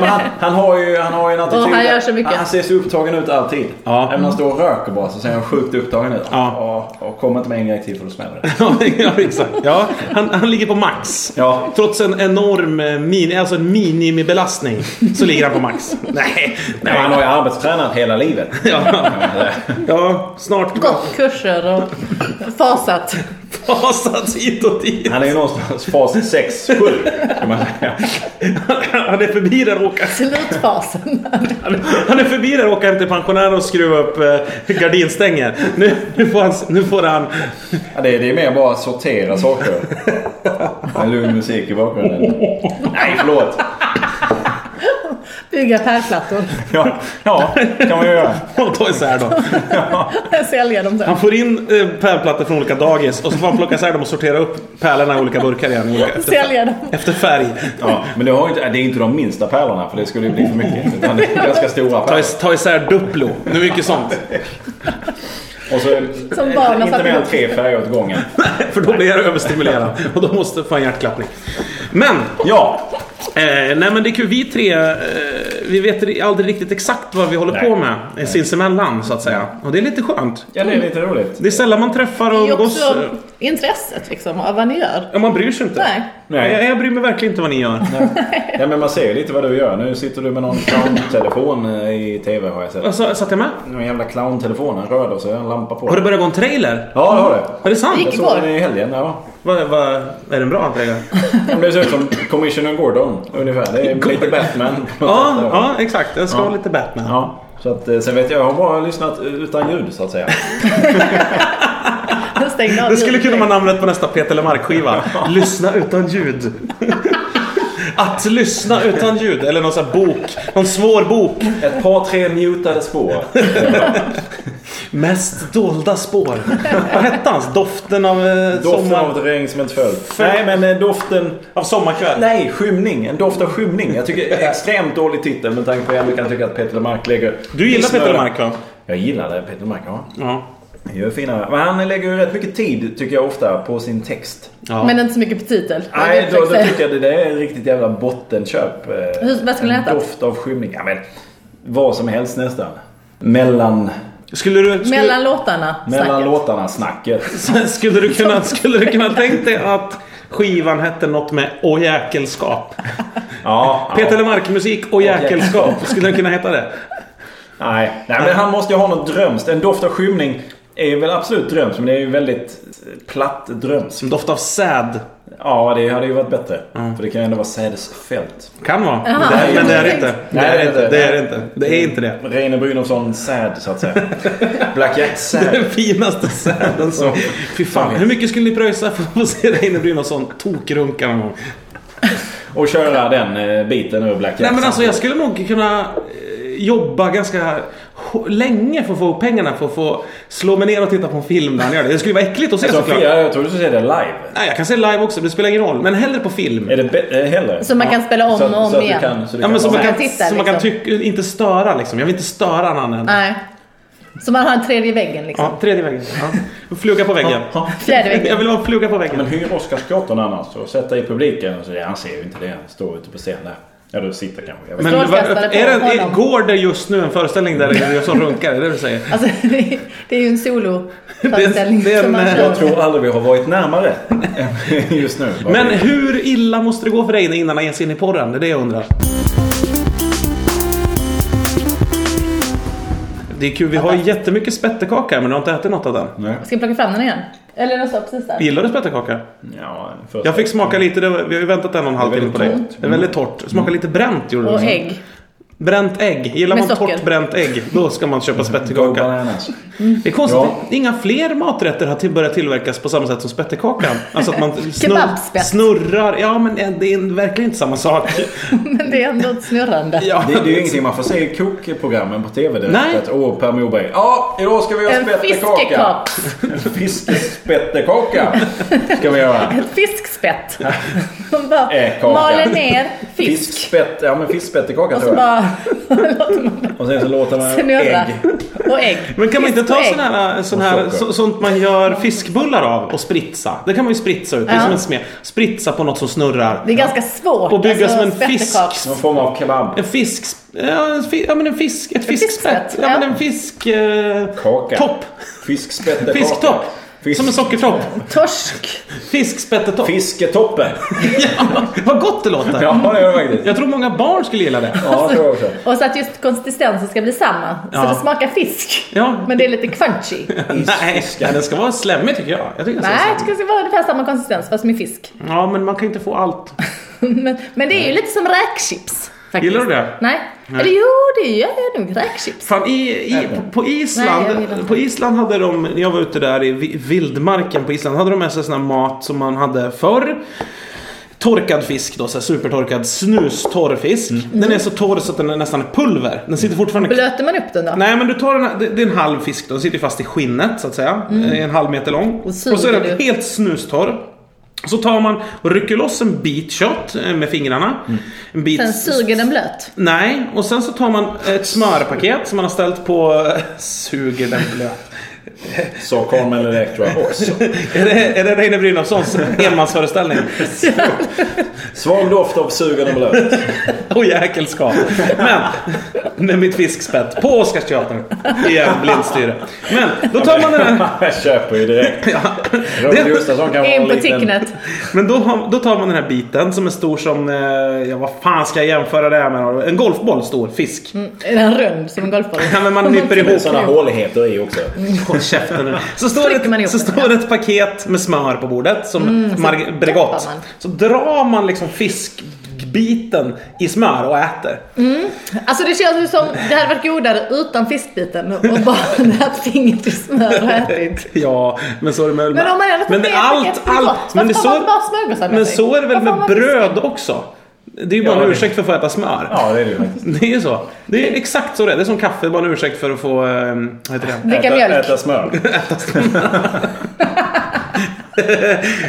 [SPEAKER 3] men han, han har ju han har ju en attityd.
[SPEAKER 2] han gör
[SPEAKER 3] där-
[SPEAKER 2] så mycket.
[SPEAKER 3] Han ser så upptagen ut alltid.
[SPEAKER 1] Ja.
[SPEAKER 3] Även när han står och röker bara så ser han sjukt upptagen ut.
[SPEAKER 1] Ja.
[SPEAKER 3] Och, och kommer inte med en grej till för då smäller det.
[SPEAKER 1] Ja, ja, exakt. Ja, han, han ligger på max.
[SPEAKER 3] Ja.
[SPEAKER 1] Trots en enorm eh, min, alltså en minimibelastning så ligger han på max. Nej,
[SPEAKER 3] Nej,
[SPEAKER 1] nej.
[SPEAKER 3] han har ju arbetstränat hela livet.
[SPEAKER 1] Ja, ja snart
[SPEAKER 2] Gått kurser och fasat.
[SPEAKER 1] fasats hit och dit.
[SPEAKER 3] Han är ju någonstans fas 6, 7 kan man säga.
[SPEAKER 1] Han är förbi där och åka,
[SPEAKER 2] Slutfasen.
[SPEAKER 1] han är förbi där och åka hem till pensionären och skruva upp eh, gardinstänger. Nu, nu, får han, nu får han...
[SPEAKER 3] Ja, det, är- det är mer bara att sortera saker. Med lugn musik i bakgrunden. Nej, förlåt.
[SPEAKER 2] Bygga pärlplattor.
[SPEAKER 3] Ja, ja kan man ju göra.
[SPEAKER 1] Och ta isär dem.
[SPEAKER 2] Sälja dem sen.
[SPEAKER 1] Han får in eh, pärlplattor från olika dagis och så får han plocka isär dem och sortera upp pärlorna i olika burkar igen. i Olika, efter,
[SPEAKER 2] Sälja dem.
[SPEAKER 1] efter färg.
[SPEAKER 3] Ja, men det, har ju inte, det är inte de minsta pärlorna för det skulle ju bli för mycket. Utan det är ganska stora
[SPEAKER 1] Ta,
[SPEAKER 3] pärlor.
[SPEAKER 1] is- ta isär Duplo. Nu mycket sånt.
[SPEAKER 3] Och så,
[SPEAKER 2] Som barn har
[SPEAKER 3] inte
[SPEAKER 2] satt
[SPEAKER 3] mer än
[SPEAKER 2] ihop.
[SPEAKER 3] tre färger åt gången.
[SPEAKER 1] För då blir jag överstimulerad. Och då måste få en hjärtklappning. Men!
[SPEAKER 3] Ja,
[SPEAKER 1] Eh, nej men det är kul. Vi tre, eh, vi vet ri- aldrig riktigt exakt vad vi håller
[SPEAKER 3] Nej.
[SPEAKER 1] på med eh, sinsemellan så att säga. Och det är lite skönt.
[SPEAKER 3] ja det är lite roligt.
[SPEAKER 1] Det är sällan man träffar
[SPEAKER 2] Det
[SPEAKER 1] och
[SPEAKER 2] är ju
[SPEAKER 1] umgås. eh,
[SPEAKER 2] också intresset liksom av vad ni gör.
[SPEAKER 1] Ja, man bryr sig inte.
[SPEAKER 2] Nej.
[SPEAKER 1] Nej. Jag,
[SPEAKER 3] Nej.
[SPEAKER 1] jag bryr mig verkligen inte vad ni gör.
[SPEAKER 3] Ja, men man ser ju lite vad du gör. Nu sitter du med någon clowntelefon eh, i TV har jag sett.
[SPEAKER 1] Alltså, satt jag med?
[SPEAKER 3] Någon jävla clowntelefon. En röd och så är det en lampa på.
[SPEAKER 1] Har det börjat gå en trailer?
[SPEAKER 3] Ja, det har det.
[SPEAKER 1] Är det sant?
[SPEAKER 3] Jag
[SPEAKER 2] Gick-
[SPEAKER 3] såg den i helgen. Ja.
[SPEAKER 1] Va, va, är den bra trailer?
[SPEAKER 3] Ja, men Det ser ut som Commissioner Gordon ungefär. Det är lite Batman.
[SPEAKER 1] ja, ja, exakt. Den ska
[SPEAKER 3] Ja.
[SPEAKER 1] vara lite Batman.
[SPEAKER 3] ja. Så att, eh, sen vet jag, jag har bara lyssnat utan ljud så att säga.
[SPEAKER 2] Jag stängde av
[SPEAKER 1] Det skulle kunna
[SPEAKER 2] ljudet.
[SPEAKER 1] vara namnet på nästa Peter Lemark-skiva. Lyssna utan ljud. Att lyssna utan ljud. Eller någon sån här bok. Någon svår bok.
[SPEAKER 3] Ett par tre mutade spår.
[SPEAKER 1] Mest dolda spår. Vad hette hans? Doften av eh,
[SPEAKER 3] Doften
[SPEAKER 1] sommar...
[SPEAKER 3] av ett regn som inte föll. Nej men eh, doften...
[SPEAKER 1] Av sommarkväll.
[SPEAKER 3] Nej, skymning. En doft av skymning. Jag tycker det är extremt dålig titel med tanke på hur jag kan tycka att Peter Lemark lägger...
[SPEAKER 1] Du gillar Peter Lemark va?
[SPEAKER 3] Jag gillar det, Peter Lemark, ja.
[SPEAKER 1] Ja.
[SPEAKER 3] Han gör fina... Men han lägger ju rätt mycket tid, tycker jag ofta, på sin text.
[SPEAKER 1] ja.
[SPEAKER 2] Men inte så mycket på titel. Vad
[SPEAKER 3] Nej, då,
[SPEAKER 2] det jag
[SPEAKER 3] då
[SPEAKER 2] försöker
[SPEAKER 3] tycker jag det där är riktigt jävla bottenköp. Eh,
[SPEAKER 2] Hur- vad skulle
[SPEAKER 3] en
[SPEAKER 2] den heta?
[SPEAKER 3] Doft av skymning. Ja, men vad som helst nästan. Mellan,
[SPEAKER 1] Skulle du...
[SPEAKER 2] säga.
[SPEAKER 1] Skulle...
[SPEAKER 2] Mellan låtarna.
[SPEAKER 3] mellan
[SPEAKER 2] snacket.
[SPEAKER 3] låtarna, snacket.
[SPEAKER 1] Skulle du kunna, skulle du kunna tänkt dig att skivan hette något med Å jäkelskap?
[SPEAKER 3] Ja,
[SPEAKER 1] Peter
[SPEAKER 3] ja.
[SPEAKER 1] Lemark-musik och jäkelskap. Skulle den kunna heta det?
[SPEAKER 3] Nej. Nej, men han måste ju ha något drömskt. En doft av skymning är väl absolut drömskt, men det är ju väldigt eh, platt drömskt.
[SPEAKER 1] Som doft av säd.
[SPEAKER 3] Ja, det hade ju varit bättre. För det kan ju ändå vara sädesfält.
[SPEAKER 1] Kan vara.
[SPEAKER 2] Jaha.
[SPEAKER 1] Men det är- men det är det inte. Det är det inte. Det är det inte. Det är inte det.
[SPEAKER 3] Reine Brynolfsson säd, så att säga. Black Jack säd.
[SPEAKER 1] Den finaste säden som... Fy fan. Hur mycket skulle ni pröjsa för att få se Reine Brynolfsson tokrunka någon gång?
[SPEAKER 3] Och köra den eh, biten ur Black Jack.
[SPEAKER 1] Nej men alltså jag skulle nog kunna eh, jobba ganska h- länge för att få upp pengarna för att få slå mig ner och titta på en film där han gör det. Det skulle vara äckligt att se
[SPEAKER 3] Sofia,
[SPEAKER 1] såklart.
[SPEAKER 3] jag tror du skulle säga det live.
[SPEAKER 1] Nej, jag kan se live också. Det spelar ingen roll. Men hellre på film.
[SPEAKER 3] Är det bä- eh, hellre?
[SPEAKER 2] Som man kan spela om
[SPEAKER 3] så att,
[SPEAKER 2] och om
[SPEAKER 3] så att
[SPEAKER 2] igen.
[SPEAKER 3] Du kan, så du
[SPEAKER 1] Ja,
[SPEAKER 3] kan
[SPEAKER 1] men som man
[SPEAKER 3] vara
[SPEAKER 1] kan,
[SPEAKER 2] Man tittar,
[SPEAKER 1] som man kan
[SPEAKER 2] liksom.
[SPEAKER 1] tycka, inte störa liksom. Jag vill inte störa någon annan.
[SPEAKER 2] Nej. Så man har en tredje väggen liksom.
[SPEAKER 1] Ja, tredje väggen. Ja. Fluga på väggen.
[SPEAKER 3] Ja,
[SPEAKER 2] Fjärde
[SPEAKER 1] Jag
[SPEAKER 2] väggen.
[SPEAKER 1] vill vara en fluga på
[SPEAKER 3] ja.
[SPEAKER 1] väggen.
[SPEAKER 3] Men hyr Oscarsgatan annars och sätt dig i publiken. Och Så, ja, han ser ju inte det. Han står ute på scenen där. Ja, du sitter kanske. Jag vet.
[SPEAKER 1] Men
[SPEAKER 2] Strålkastare
[SPEAKER 1] vad-
[SPEAKER 2] på
[SPEAKER 1] är det, är,
[SPEAKER 2] honom.
[SPEAKER 1] går det just nu en föreställning där det är som runkar? Är det det du säger?
[SPEAKER 2] Alltså, det är- det är ju en soloföreställning
[SPEAKER 1] Det är en- eh,
[SPEAKER 2] som man
[SPEAKER 1] det är en-
[SPEAKER 2] kör.
[SPEAKER 3] jag tror aldrig vi har varit närmare än just nu.
[SPEAKER 1] Men hur illa måste det gå för dig innan han ger sig in i porren? Det är det jag undrar. Det är kul, vi har ju jättemycket spettekaka här, men du har inte ätit något av den.
[SPEAKER 3] Nej.
[SPEAKER 2] Ska jag plocka fram den igen? Eller den står precis där.
[SPEAKER 1] Gillar du spettekaka?
[SPEAKER 3] Ja, först.
[SPEAKER 1] Jag fick smaka lite, det var, vi har ju väntat en och en halv
[SPEAKER 3] Det är
[SPEAKER 1] timme på dig.
[SPEAKER 3] väldigt Mm.
[SPEAKER 1] Det är väldigt torrt. Smaka lite bränt gjorde du.
[SPEAKER 2] Och
[SPEAKER 1] också.
[SPEAKER 2] ägg.
[SPEAKER 1] Bränt ägg. Gillar
[SPEAKER 2] Med
[SPEAKER 1] man
[SPEAKER 2] socker.
[SPEAKER 1] torrt bränt ägg, då ska man köpa
[SPEAKER 3] Go
[SPEAKER 1] spettekaka.
[SPEAKER 3] bananas.
[SPEAKER 1] Det är konstigt,
[SPEAKER 3] Ja.
[SPEAKER 1] inga fler maträtter har till- börjat tillverkas på samma sätt som spettekakan. Alltså att man snurr,
[SPEAKER 2] Kebabspett.
[SPEAKER 1] snurrar. Ja, men eh, det är verkligen inte samma sak.
[SPEAKER 2] Men det är ändå ett snurrande.
[SPEAKER 1] Ja.
[SPEAKER 3] Det, det är ju ingenting man får se i kokprogrammen på TV direkt.
[SPEAKER 1] Nej.
[SPEAKER 3] Att, åh, Per Morberg. Ja, idag ska vi göra
[SPEAKER 2] En
[SPEAKER 3] spettekaka.
[SPEAKER 2] fiskekopp.
[SPEAKER 3] En fiskespettekaka. Ska vi göra.
[SPEAKER 2] Ett fiskspett. Man bara
[SPEAKER 3] Äkaka.
[SPEAKER 2] maler ner fisk.
[SPEAKER 3] Fiskspett, ja men fiskspettekaka
[SPEAKER 2] Och så
[SPEAKER 3] tror jag.
[SPEAKER 2] bara låter man
[SPEAKER 3] Och sen så låter man
[SPEAKER 2] snurra.
[SPEAKER 3] ägg.
[SPEAKER 2] Och ägg.
[SPEAKER 1] Men kan man inte
[SPEAKER 2] Fisk och
[SPEAKER 1] ta
[SPEAKER 2] ägg.
[SPEAKER 1] sån här, eh, sån
[SPEAKER 3] Och
[SPEAKER 1] här
[SPEAKER 3] socker.
[SPEAKER 1] så, sånt man gör fiskbullar av och spritsa? Det kan man ju spritsa ut. Det är
[SPEAKER 2] Ja.
[SPEAKER 1] som en smed. Spritsa på något som snurrar.
[SPEAKER 2] Det är ganska svårt. Alltså,
[SPEAKER 1] Och bygga som en
[SPEAKER 2] spettekak.
[SPEAKER 1] fisk.
[SPEAKER 3] Någon form av kebab.
[SPEAKER 1] En fisk... Ja, en fi- ja men en fisk... Ett fiskspett.
[SPEAKER 2] fiskspett,
[SPEAKER 1] Ja, men
[SPEAKER 2] ja.
[SPEAKER 1] en fisk... Eh,
[SPEAKER 3] Kaka.
[SPEAKER 1] Topp.
[SPEAKER 3] Fiskspettekaka.
[SPEAKER 1] Fisktopp.
[SPEAKER 3] Fisk-
[SPEAKER 1] Som en sockertopp.
[SPEAKER 2] Torsk.
[SPEAKER 1] Fiskspettetopp.
[SPEAKER 3] Fisketoppen.
[SPEAKER 1] ja, vad gott det låter.
[SPEAKER 3] Ja, det gör det faktiskt.
[SPEAKER 1] Jag tror många barn skulle gilla det.
[SPEAKER 3] Ja, det tror jag också.
[SPEAKER 2] Och så att just konsistensen ska bli samma.
[SPEAKER 1] Ja.
[SPEAKER 2] Så det smakar fisk.
[SPEAKER 1] Ja.
[SPEAKER 2] Men det är lite crunchy.
[SPEAKER 1] Nej, nej, den ska vara slemmig tycker jag. jag tycker den ska
[SPEAKER 2] Nej,
[SPEAKER 1] vara
[SPEAKER 2] jag tycker det ska vara ungefär samma konsistens fast med fisk.
[SPEAKER 1] slemmig. Ja, men man kan inte få allt.
[SPEAKER 2] Men, men det är ju lite som räkchips. Faktiskt.
[SPEAKER 1] Gillar du det?
[SPEAKER 2] Nej. Eller jo, det gör jag nog. Räkchips.
[SPEAKER 1] Fan, i, i, på, på, Island,
[SPEAKER 2] Nej, jag vill inte.
[SPEAKER 1] på Island hade de, när jag var ute där i vi- vildmarken på Island, hade de med sig sån här mat som man hade förr. Torkad fisk då, så här supertorkad snustorr fisk.
[SPEAKER 2] Mm.
[SPEAKER 1] Den är så torr så att den är nästan är pulver. Den sitter fortfarande
[SPEAKER 2] Blöter man upp den då?
[SPEAKER 1] Nej men du tar den här, det, det är en halv fisk då, den sitter ju fast i skinnet så att säga.
[SPEAKER 2] Mm.
[SPEAKER 1] Eh, En halv meter lång. Och,
[SPEAKER 2] suger
[SPEAKER 1] så är den
[SPEAKER 2] du.
[SPEAKER 1] helt snustorr. Så tar man och rycker loss en bit kött eh, med fingrarna. En bit
[SPEAKER 2] Sen suger den blöt.
[SPEAKER 1] Nej, och sen så tar man ett smörpaket som man har ställt på... Suger den blöt.
[SPEAKER 3] Så Carmen Electra också.
[SPEAKER 1] Är det, är det Reine Brynolfssons enmansföreställning?
[SPEAKER 3] Svag doft av sugen och blöt.
[SPEAKER 1] Och jäkelskap. Men, med mitt fiskspett på Oscarsteatern. Igen, blindstyre. Men, då tar man den här...
[SPEAKER 3] Jag köper ju direkt. Robert Gustafsson kan vara en
[SPEAKER 2] In på
[SPEAKER 3] liten...
[SPEAKER 2] ticknet.
[SPEAKER 1] Men då, har- då tar man den här biten som är stor som... Eh, ja, vad fan ska jag jämföra det här med? En golfboll stor, fisk.
[SPEAKER 2] Mm, Är den rund som en golfboll?
[SPEAKER 1] Ja, men man nyper
[SPEAKER 3] Det är
[SPEAKER 1] ihop.
[SPEAKER 3] sådana håligheter i också.
[SPEAKER 1] Håll käften nu. Så står,
[SPEAKER 2] Trycker man
[SPEAKER 1] det,
[SPEAKER 2] ihop
[SPEAKER 1] så
[SPEAKER 2] den,
[SPEAKER 1] står det ett paket med smör på bordet som Marg- Bregott.
[SPEAKER 2] doppar man.
[SPEAKER 1] Så drar man liksom fiskbiten i smör och äter.
[SPEAKER 2] Alltså det känns ju som det hade varit godare utan fiskbiten och bara lagt fingret i smör och ätit.
[SPEAKER 1] Ja, men så är det med...
[SPEAKER 2] Men om man ändå tar
[SPEAKER 1] men det
[SPEAKER 2] med
[SPEAKER 1] är allt,
[SPEAKER 2] paketet, det är
[SPEAKER 1] allt,
[SPEAKER 2] gott. Varför
[SPEAKER 1] men, det
[SPEAKER 2] tar
[SPEAKER 1] så,
[SPEAKER 2] man inte bara smörgåsar med
[SPEAKER 1] men
[SPEAKER 2] sig?
[SPEAKER 1] så är det väl
[SPEAKER 2] Varför har
[SPEAKER 1] med
[SPEAKER 2] man
[SPEAKER 1] bröd också? Det är ju bara
[SPEAKER 3] Ja,
[SPEAKER 1] en
[SPEAKER 3] det-
[SPEAKER 1] ursäkt för att få äta smör.
[SPEAKER 3] Ja, det är det ju faktiskt.
[SPEAKER 1] Det är ju så. Det är exakt så det är. Det är som kaffe, det är bara en ursäkt för att få... eh, Vad heter det?
[SPEAKER 2] Dricka
[SPEAKER 3] äta,
[SPEAKER 2] mjölk.
[SPEAKER 3] äta smör.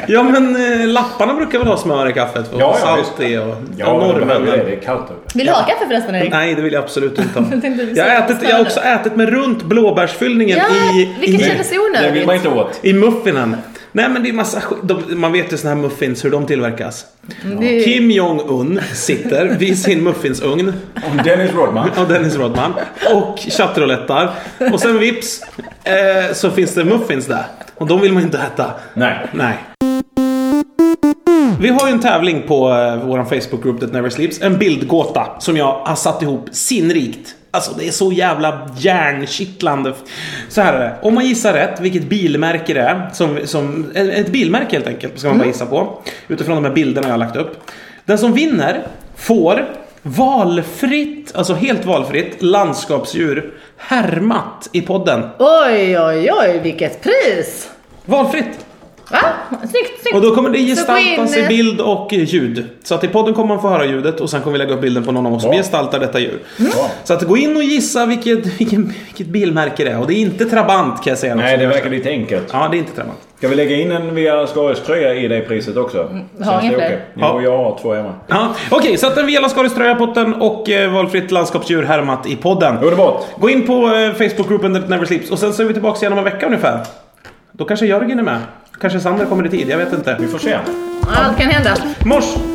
[SPEAKER 1] Ja men eh, lapparna brukar väl ha smör i kaffet? Och
[SPEAKER 3] Ja, ja,
[SPEAKER 1] salt
[SPEAKER 3] visst.
[SPEAKER 1] i och...
[SPEAKER 3] Ja,
[SPEAKER 1] normen.
[SPEAKER 3] det behöver det. Det är kallt uppe.
[SPEAKER 2] Vill du ha kaffe förresten Erik?
[SPEAKER 1] Nej, det vill jag absolut inte ha.
[SPEAKER 2] Jag tänkte du
[SPEAKER 1] Jag har,
[SPEAKER 2] skulle
[SPEAKER 1] ätit, jag har också ätit mig runt blåbärsfyllningen
[SPEAKER 2] Ja,
[SPEAKER 1] i,
[SPEAKER 2] vilket
[SPEAKER 1] i,
[SPEAKER 2] kändes
[SPEAKER 3] Det vill man
[SPEAKER 2] onödigt.
[SPEAKER 3] inte åt.
[SPEAKER 1] i muffinen. Nej men det är massa skit. De, man vet ju såna här muffins, hur de tillverkas.
[SPEAKER 2] Det-
[SPEAKER 1] Kim Jong-Un sitter vid sin muffinsugn.
[SPEAKER 3] Och Dennis Rodman.
[SPEAKER 1] av Dennis Rodman och chattrolettar. Och sen vips eh, så finns det muffins där. Och de vill man inte äta.
[SPEAKER 3] Nej.
[SPEAKER 1] Nej. Vi har ju en tävling på eh, vår Facebookgrupp That Never Sleeps. En bildgåta som jag har satt ihop sinnrikt. Alltså det är så jävla hjärnkittlande. Så här är det. Om man gissar rätt vilket bilmärke det är. Som, som, eh, ett bilmärke helt enkelt ska man bara gissa på. Utifrån de här bilderna jag har lagt upp. Den som vinner får valfritt, alltså helt valfritt, landskapsdjur härmat i podden.
[SPEAKER 2] Oj, oj, oj, vilket pris!
[SPEAKER 1] Valfritt!
[SPEAKER 2] Va? Snyggt, snyggt!
[SPEAKER 1] Och då kommer det
[SPEAKER 2] Så gå in,
[SPEAKER 1] gestaltas i
[SPEAKER 2] eh,
[SPEAKER 1] bild och ljud. Så att i podden kommer man få höra ljudet och sen kommer vi lägga upp bilden på någon av oss som
[SPEAKER 3] Ja.
[SPEAKER 1] gestaltar detta djur.
[SPEAKER 2] Mm.
[SPEAKER 3] Ja.
[SPEAKER 1] Så att gå in och gissa vilket, vilken, vilket bilmärke det är. Och det är inte Trabant kan jag säga.
[SPEAKER 3] Nej, det verkar lite enkelt.
[SPEAKER 1] Ja, det är inte Trabant.
[SPEAKER 3] Ska vi lägga in en Via Scarius tröja i det priset också? Känns
[SPEAKER 2] Mm. har
[SPEAKER 3] det
[SPEAKER 2] ingen
[SPEAKER 3] okej?
[SPEAKER 2] fler?
[SPEAKER 1] Ja.
[SPEAKER 3] Jo, jag har två hemma.
[SPEAKER 1] Ja. Okej, så att en Vela Skaris tröja på den och eh, valfritt landskapsdjur härmat i podden.
[SPEAKER 3] Underbart!
[SPEAKER 1] Gå in på eh, Facebookgruppen That Never Sleeps och sen så är vi tillbaka igen om en vecka ungefär. Då kanske Jörgen är med. Kanske Sander kommer i tid, jag vet inte.
[SPEAKER 3] Vi får se.
[SPEAKER 2] Allt kan hända.
[SPEAKER 1] Mors!